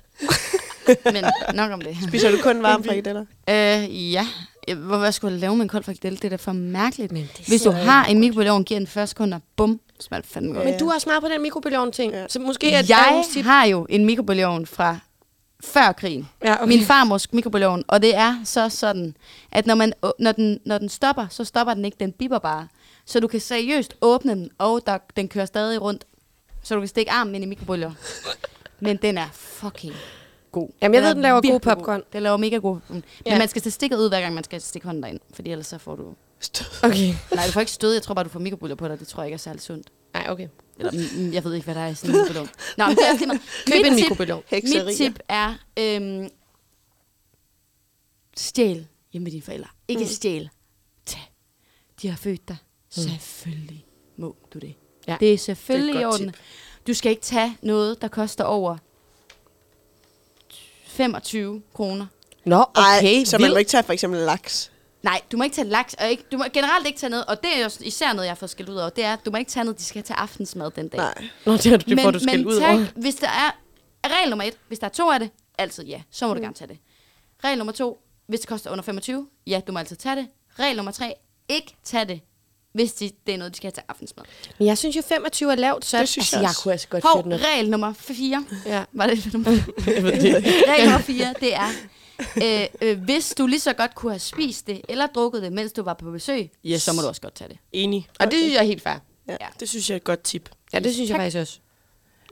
Speaker 5: Men nok om det.
Speaker 3: Spiser du kun varme frikadeller?
Speaker 5: Øh, ja. Jeg- Hvor, hvad skulle jeg lave med en kold frikadelle? Det er da for mærkeligt. Men det Hvis du har en mikrobølgeovn, giver den 40 sekunder. Bum. Smalt fandme godt.
Speaker 2: Men du er også meget på den mikrobølgeovn-ting. Ja. Så måske er
Speaker 5: Jeg
Speaker 2: det
Speaker 5: har jo en mikrobølgeovn fra før krigen.
Speaker 2: Ja, okay.
Speaker 5: Min farmors mikrobølgeovn, og det er så sådan, at når, man, å- når, den, når den stopper, så stopper den ikke, den bipper bare. Så du kan seriøst åbne den, og der, den kører stadig rundt, så du kan stikke armen ind i mikrobølger. Men den er fucking god.
Speaker 2: Jamen, jeg ved,
Speaker 5: er
Speaker 2: den laver god
Speaker 5: virkelig
Speaker 2: popcorn.
Speaker 5: Den laver mega god. popcorn. Men
Speaker 2: Ja.
Speaker 5: man skal tage stikket ud, hver gang man skal stikke hånden derind, fordi ellers så får du...
Speaker 2: Okay.
Speaker 5: Nej, du får ikke stød, jeg tror bare, du får mikrobølger på dig, det tror jeg ikke er særlig sundt.
Speaker 2: Nej, okay.
Speaker 5: Eller, mm, mm, jeg ved ikke, hvad der er i sådan en mikrobølgeovn. Nå, men det er også lige meget.
Speaker 2: Køb
Speaker 5: Mit
Speaker 2: en
Speaker 5: tip-
Speaker 2: mikrobølgeovn.
Speaker 3: Hekserier.
Speaker 5: Mit tip er, øhm, stjæl hjemme med dine forældre. Ikke mm. stjæl. Tag. De har født dig. Mm. Selvfølgelig må du det.
Speaker 2: Ja,
Speaker 5: Ja. Det er selvfølgelig
Speaker 4: det
Speaker 5: det
Speaker 4: er
Speaker 5: er
Speaker 4: et
Speaker 5: i
Speaker 4: godt
Speaker 5: orden. Du skal ikke tage noget, der koster over 25 kroner.
Speaker 2: Nå, okay,
Speaker 3: Ej, så man må
Speaker 2: vildt.
Speaker 3: ikke tage for eksempel laks.
Speaker 5: Nej, du må ikke tage laks, og ikke, du må generelt ikke tage noget, og det er jo især noget, jeg har fået skæld ud over, det er, at du må ikke tage noget, de skal have til aftensmad den dag.
Speaker 3: Nej.
Speaker 2: Nå, det, har du- det får du
Speaker 5: men
Speaker 2: skæld ud
Speaker 5: tag,
Speaker 2: over.
Speaker 5: hvis der er... Regel nummer et, hvis der er to af det, altid ja, så
Speaker 2: Mm.
Speaker 5: må du gerne tage det. Regel nummer to, hvis det koster under 25, ja, du må altid tage det. Regel nummer tre, ikke tage det, hvis de, det er noget, de skal have til aftensmad.
Speaker 2: Men jeg synes jo, 25 er lavt, så
Speaker 3: Det synes
Speaker 2: altså,
Speaker 3: jeg
Speaker 2: jeg
Speaker 3: også.
Speaker 2: kunne altså godt
Speaker 5: Hov,
Speaker 2: sætte den op.
Speaker 5: regel nummer 4.
Speaker 2: Ja.
Speaker 5: Var det nummer Regel nummer 4, det er, øh, øh, hvis du lige så godt kunne have spist det, eller drukket det, mens du var på besøg,
Speaker 4: Yes.
Speaker 5: yes. så må du også godt tage det.
Speaker 4: Enig.
Speaker 2: Og det synes jeg er helt fair.
Speaker 4: Det synes jeg er et godt tip.
Speaker 2: Ja, det synes jeg faktisk også.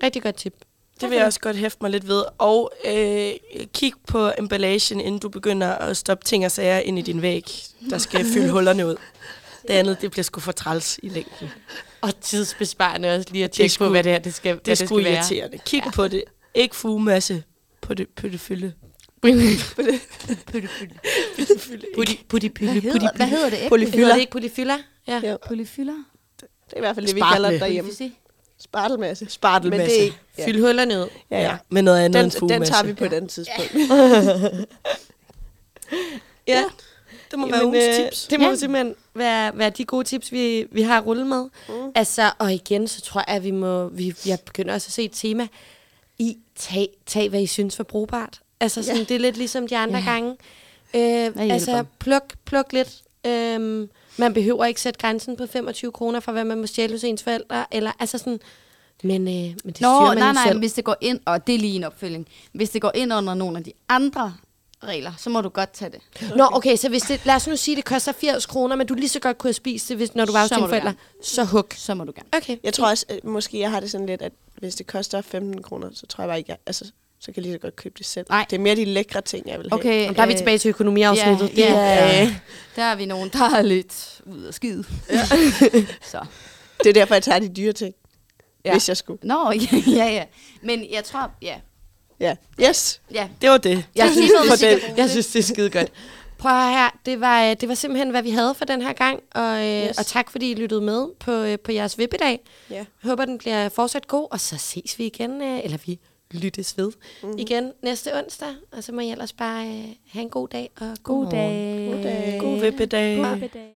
Speaker 2: Rigtig godt tip.
Speaker 4: Det vil jeg også godt hæfte mig lidt ved. Og øh, kig på emballagen, inden du begynder at stoppe ting og sager ind i din væg, der skal fylde hullerne ud. Det andet, det bliver sgu for træls i længden.
Speaker 2: Og tidsbesparende også lige at tjekke på,
Speaker 4: sgu-
Speaker 2: hvad det her det skal,
Speaker 4: Det er
Speaker 2: hvad det
Speaker 4: sgu
Speaker 2: skal være.
Speaker 4: irriterende. Kig ja. på det. Ikke fugemasse på det, på det fylde.
Speaker 5: Putti, putti, putti, putti, hvad hedder det?
Speaker 2: Hedder
Speaker 5: Ikke?
Speaker 3: Polyfyller.
Speaker 2: det ikke polyfyller? Ja.
Speaker 3: Jo.
Speaker 5: Polyfyller?
Speaker 3: Det er i hvert fald det, vi
Speaker 4: Spartle.
Speaker 3: kalder det derhjemme.
Speaker 5: Polyfysi?
Speaker 3: Spartelmasse.
Speaker 4: Spartelmasse.
Speaker 3: Men det er ikke-
Speaker 2: ja. Fyld hullerne ud.
Speaker 3: Ja, ja.
Speaker 4: Med noget andet
Speaker 3: Den,
Speaker 4: end
Speaker 3: den
Speaker 4: fugemasse.
Speaker 3: tager vi på et andet tidspunkt.
Speaker 2: Ja.
Speaker 4: Det må være ugens
Speaker 2: øh,
Speaker 4: tips.
Speaker 2: Det må
Speaker 5: Ja.
Speaker 2: simpelthen være, være de gode tips, vi, vi har rullet med. Mm. Altså, og igen, så tror jeg, at vi må... Vi, jeg begynder også at se et tema. I tag, tag hvad I synes var brugbart. Altså, sådan, det er lidt ligesom de andre gange. Øh, altså,
Speaker 5: hjælper?
Speaker 2: pluk, pluk lidt. Øhm, man behøver ikke sætte grænsen på 25 kroner for, hvad man må stjæle hos ens forældre. Eller, altså sådan... Men, øh, men det styrer
Speaker 5: Nå,
Speaker 2: man
Speaker 5: nej,
Speaker 2: jo
Speaker 5: nej,
Speaker 2: selv.
Speaker 5: men hvis det går ind, og det er lige en opfølging, hvis det går ind under nogle af de andre regler, så må du godt tage det.
Speaker 2: Nå, okay, så hvis det, lad os nu sige, det koster 80 kroner, men du lige så godt kunne have spist det, hvis, når du var hos
Speaker 5: Så
Speaker 2: dine
Speaker 5: må du
Speaker 2: forældre. Så hug.
Speaker 5: Så må du gerne.
Speaker 2: Okay.
Speaker 3: Jeg tror også, at måske jeg har det sådan lidt, at hvis det koster 15 kroner, så tror jeg bare ikke, jeg, altså, Så kan jeg lige så godt købe det selv.
Speaker 5: Nej.
Speaker 3: Det er mere de lækre ting, jeg vil have.
Speaker 5: Okay,
Speaker 2: Jamen, der er vi
Speaker 5: øh,
Speaker 2: tilbage til økonomiafsnittet.
Speaker 5: ja,
Speaker 2: Det
Speaker 5: ja.
Speaker 2: er-
Speaker 5: Der er vi nogen, der er lidt ud af skide. Ja. så.
Speaker 3: Det er derfor, jeg tager de dyre ting.
Speaker 5: Ja.
Speaker 3: Ja. Hvis jeg skulle.
Speaker 5: Nå, ja, ja, ja. Men jeg tror, ja.
Speaker 3: Ja. Yes.
Speaker 5: ja.
Speaker 4: Det var det.
Speaker 5: Jeg synes,
Speaker 2: noget,
Speaker 5: for
Speaker 2: vi skal
Speaker 5: den.
Speaker 2: bruge
Speaker 4: Jeg
Speaker 2: til.
Speaker 4: synes, det er skide godt.
Speaker 2: Prøv at høre her, det var, øh, det var simpelthen, hvad vi havde for den her gang, og, øh, yes. og tak fordi I lyttede med på, øh, på jeres vippedag.
Speaker 3: Ja.
Speaker 2: Jeg håber, den bliver fortsat god, og så ses vi igen, øh, eller vi lyttes ved
Speaker 5: Mhm.
Speaker 2: mm-hmm. igen næste onsdag, og så må I ellers bare øh, have en god dag og god, god dag.
Speaker 4: God vippedag.
Speaker 7: God dag.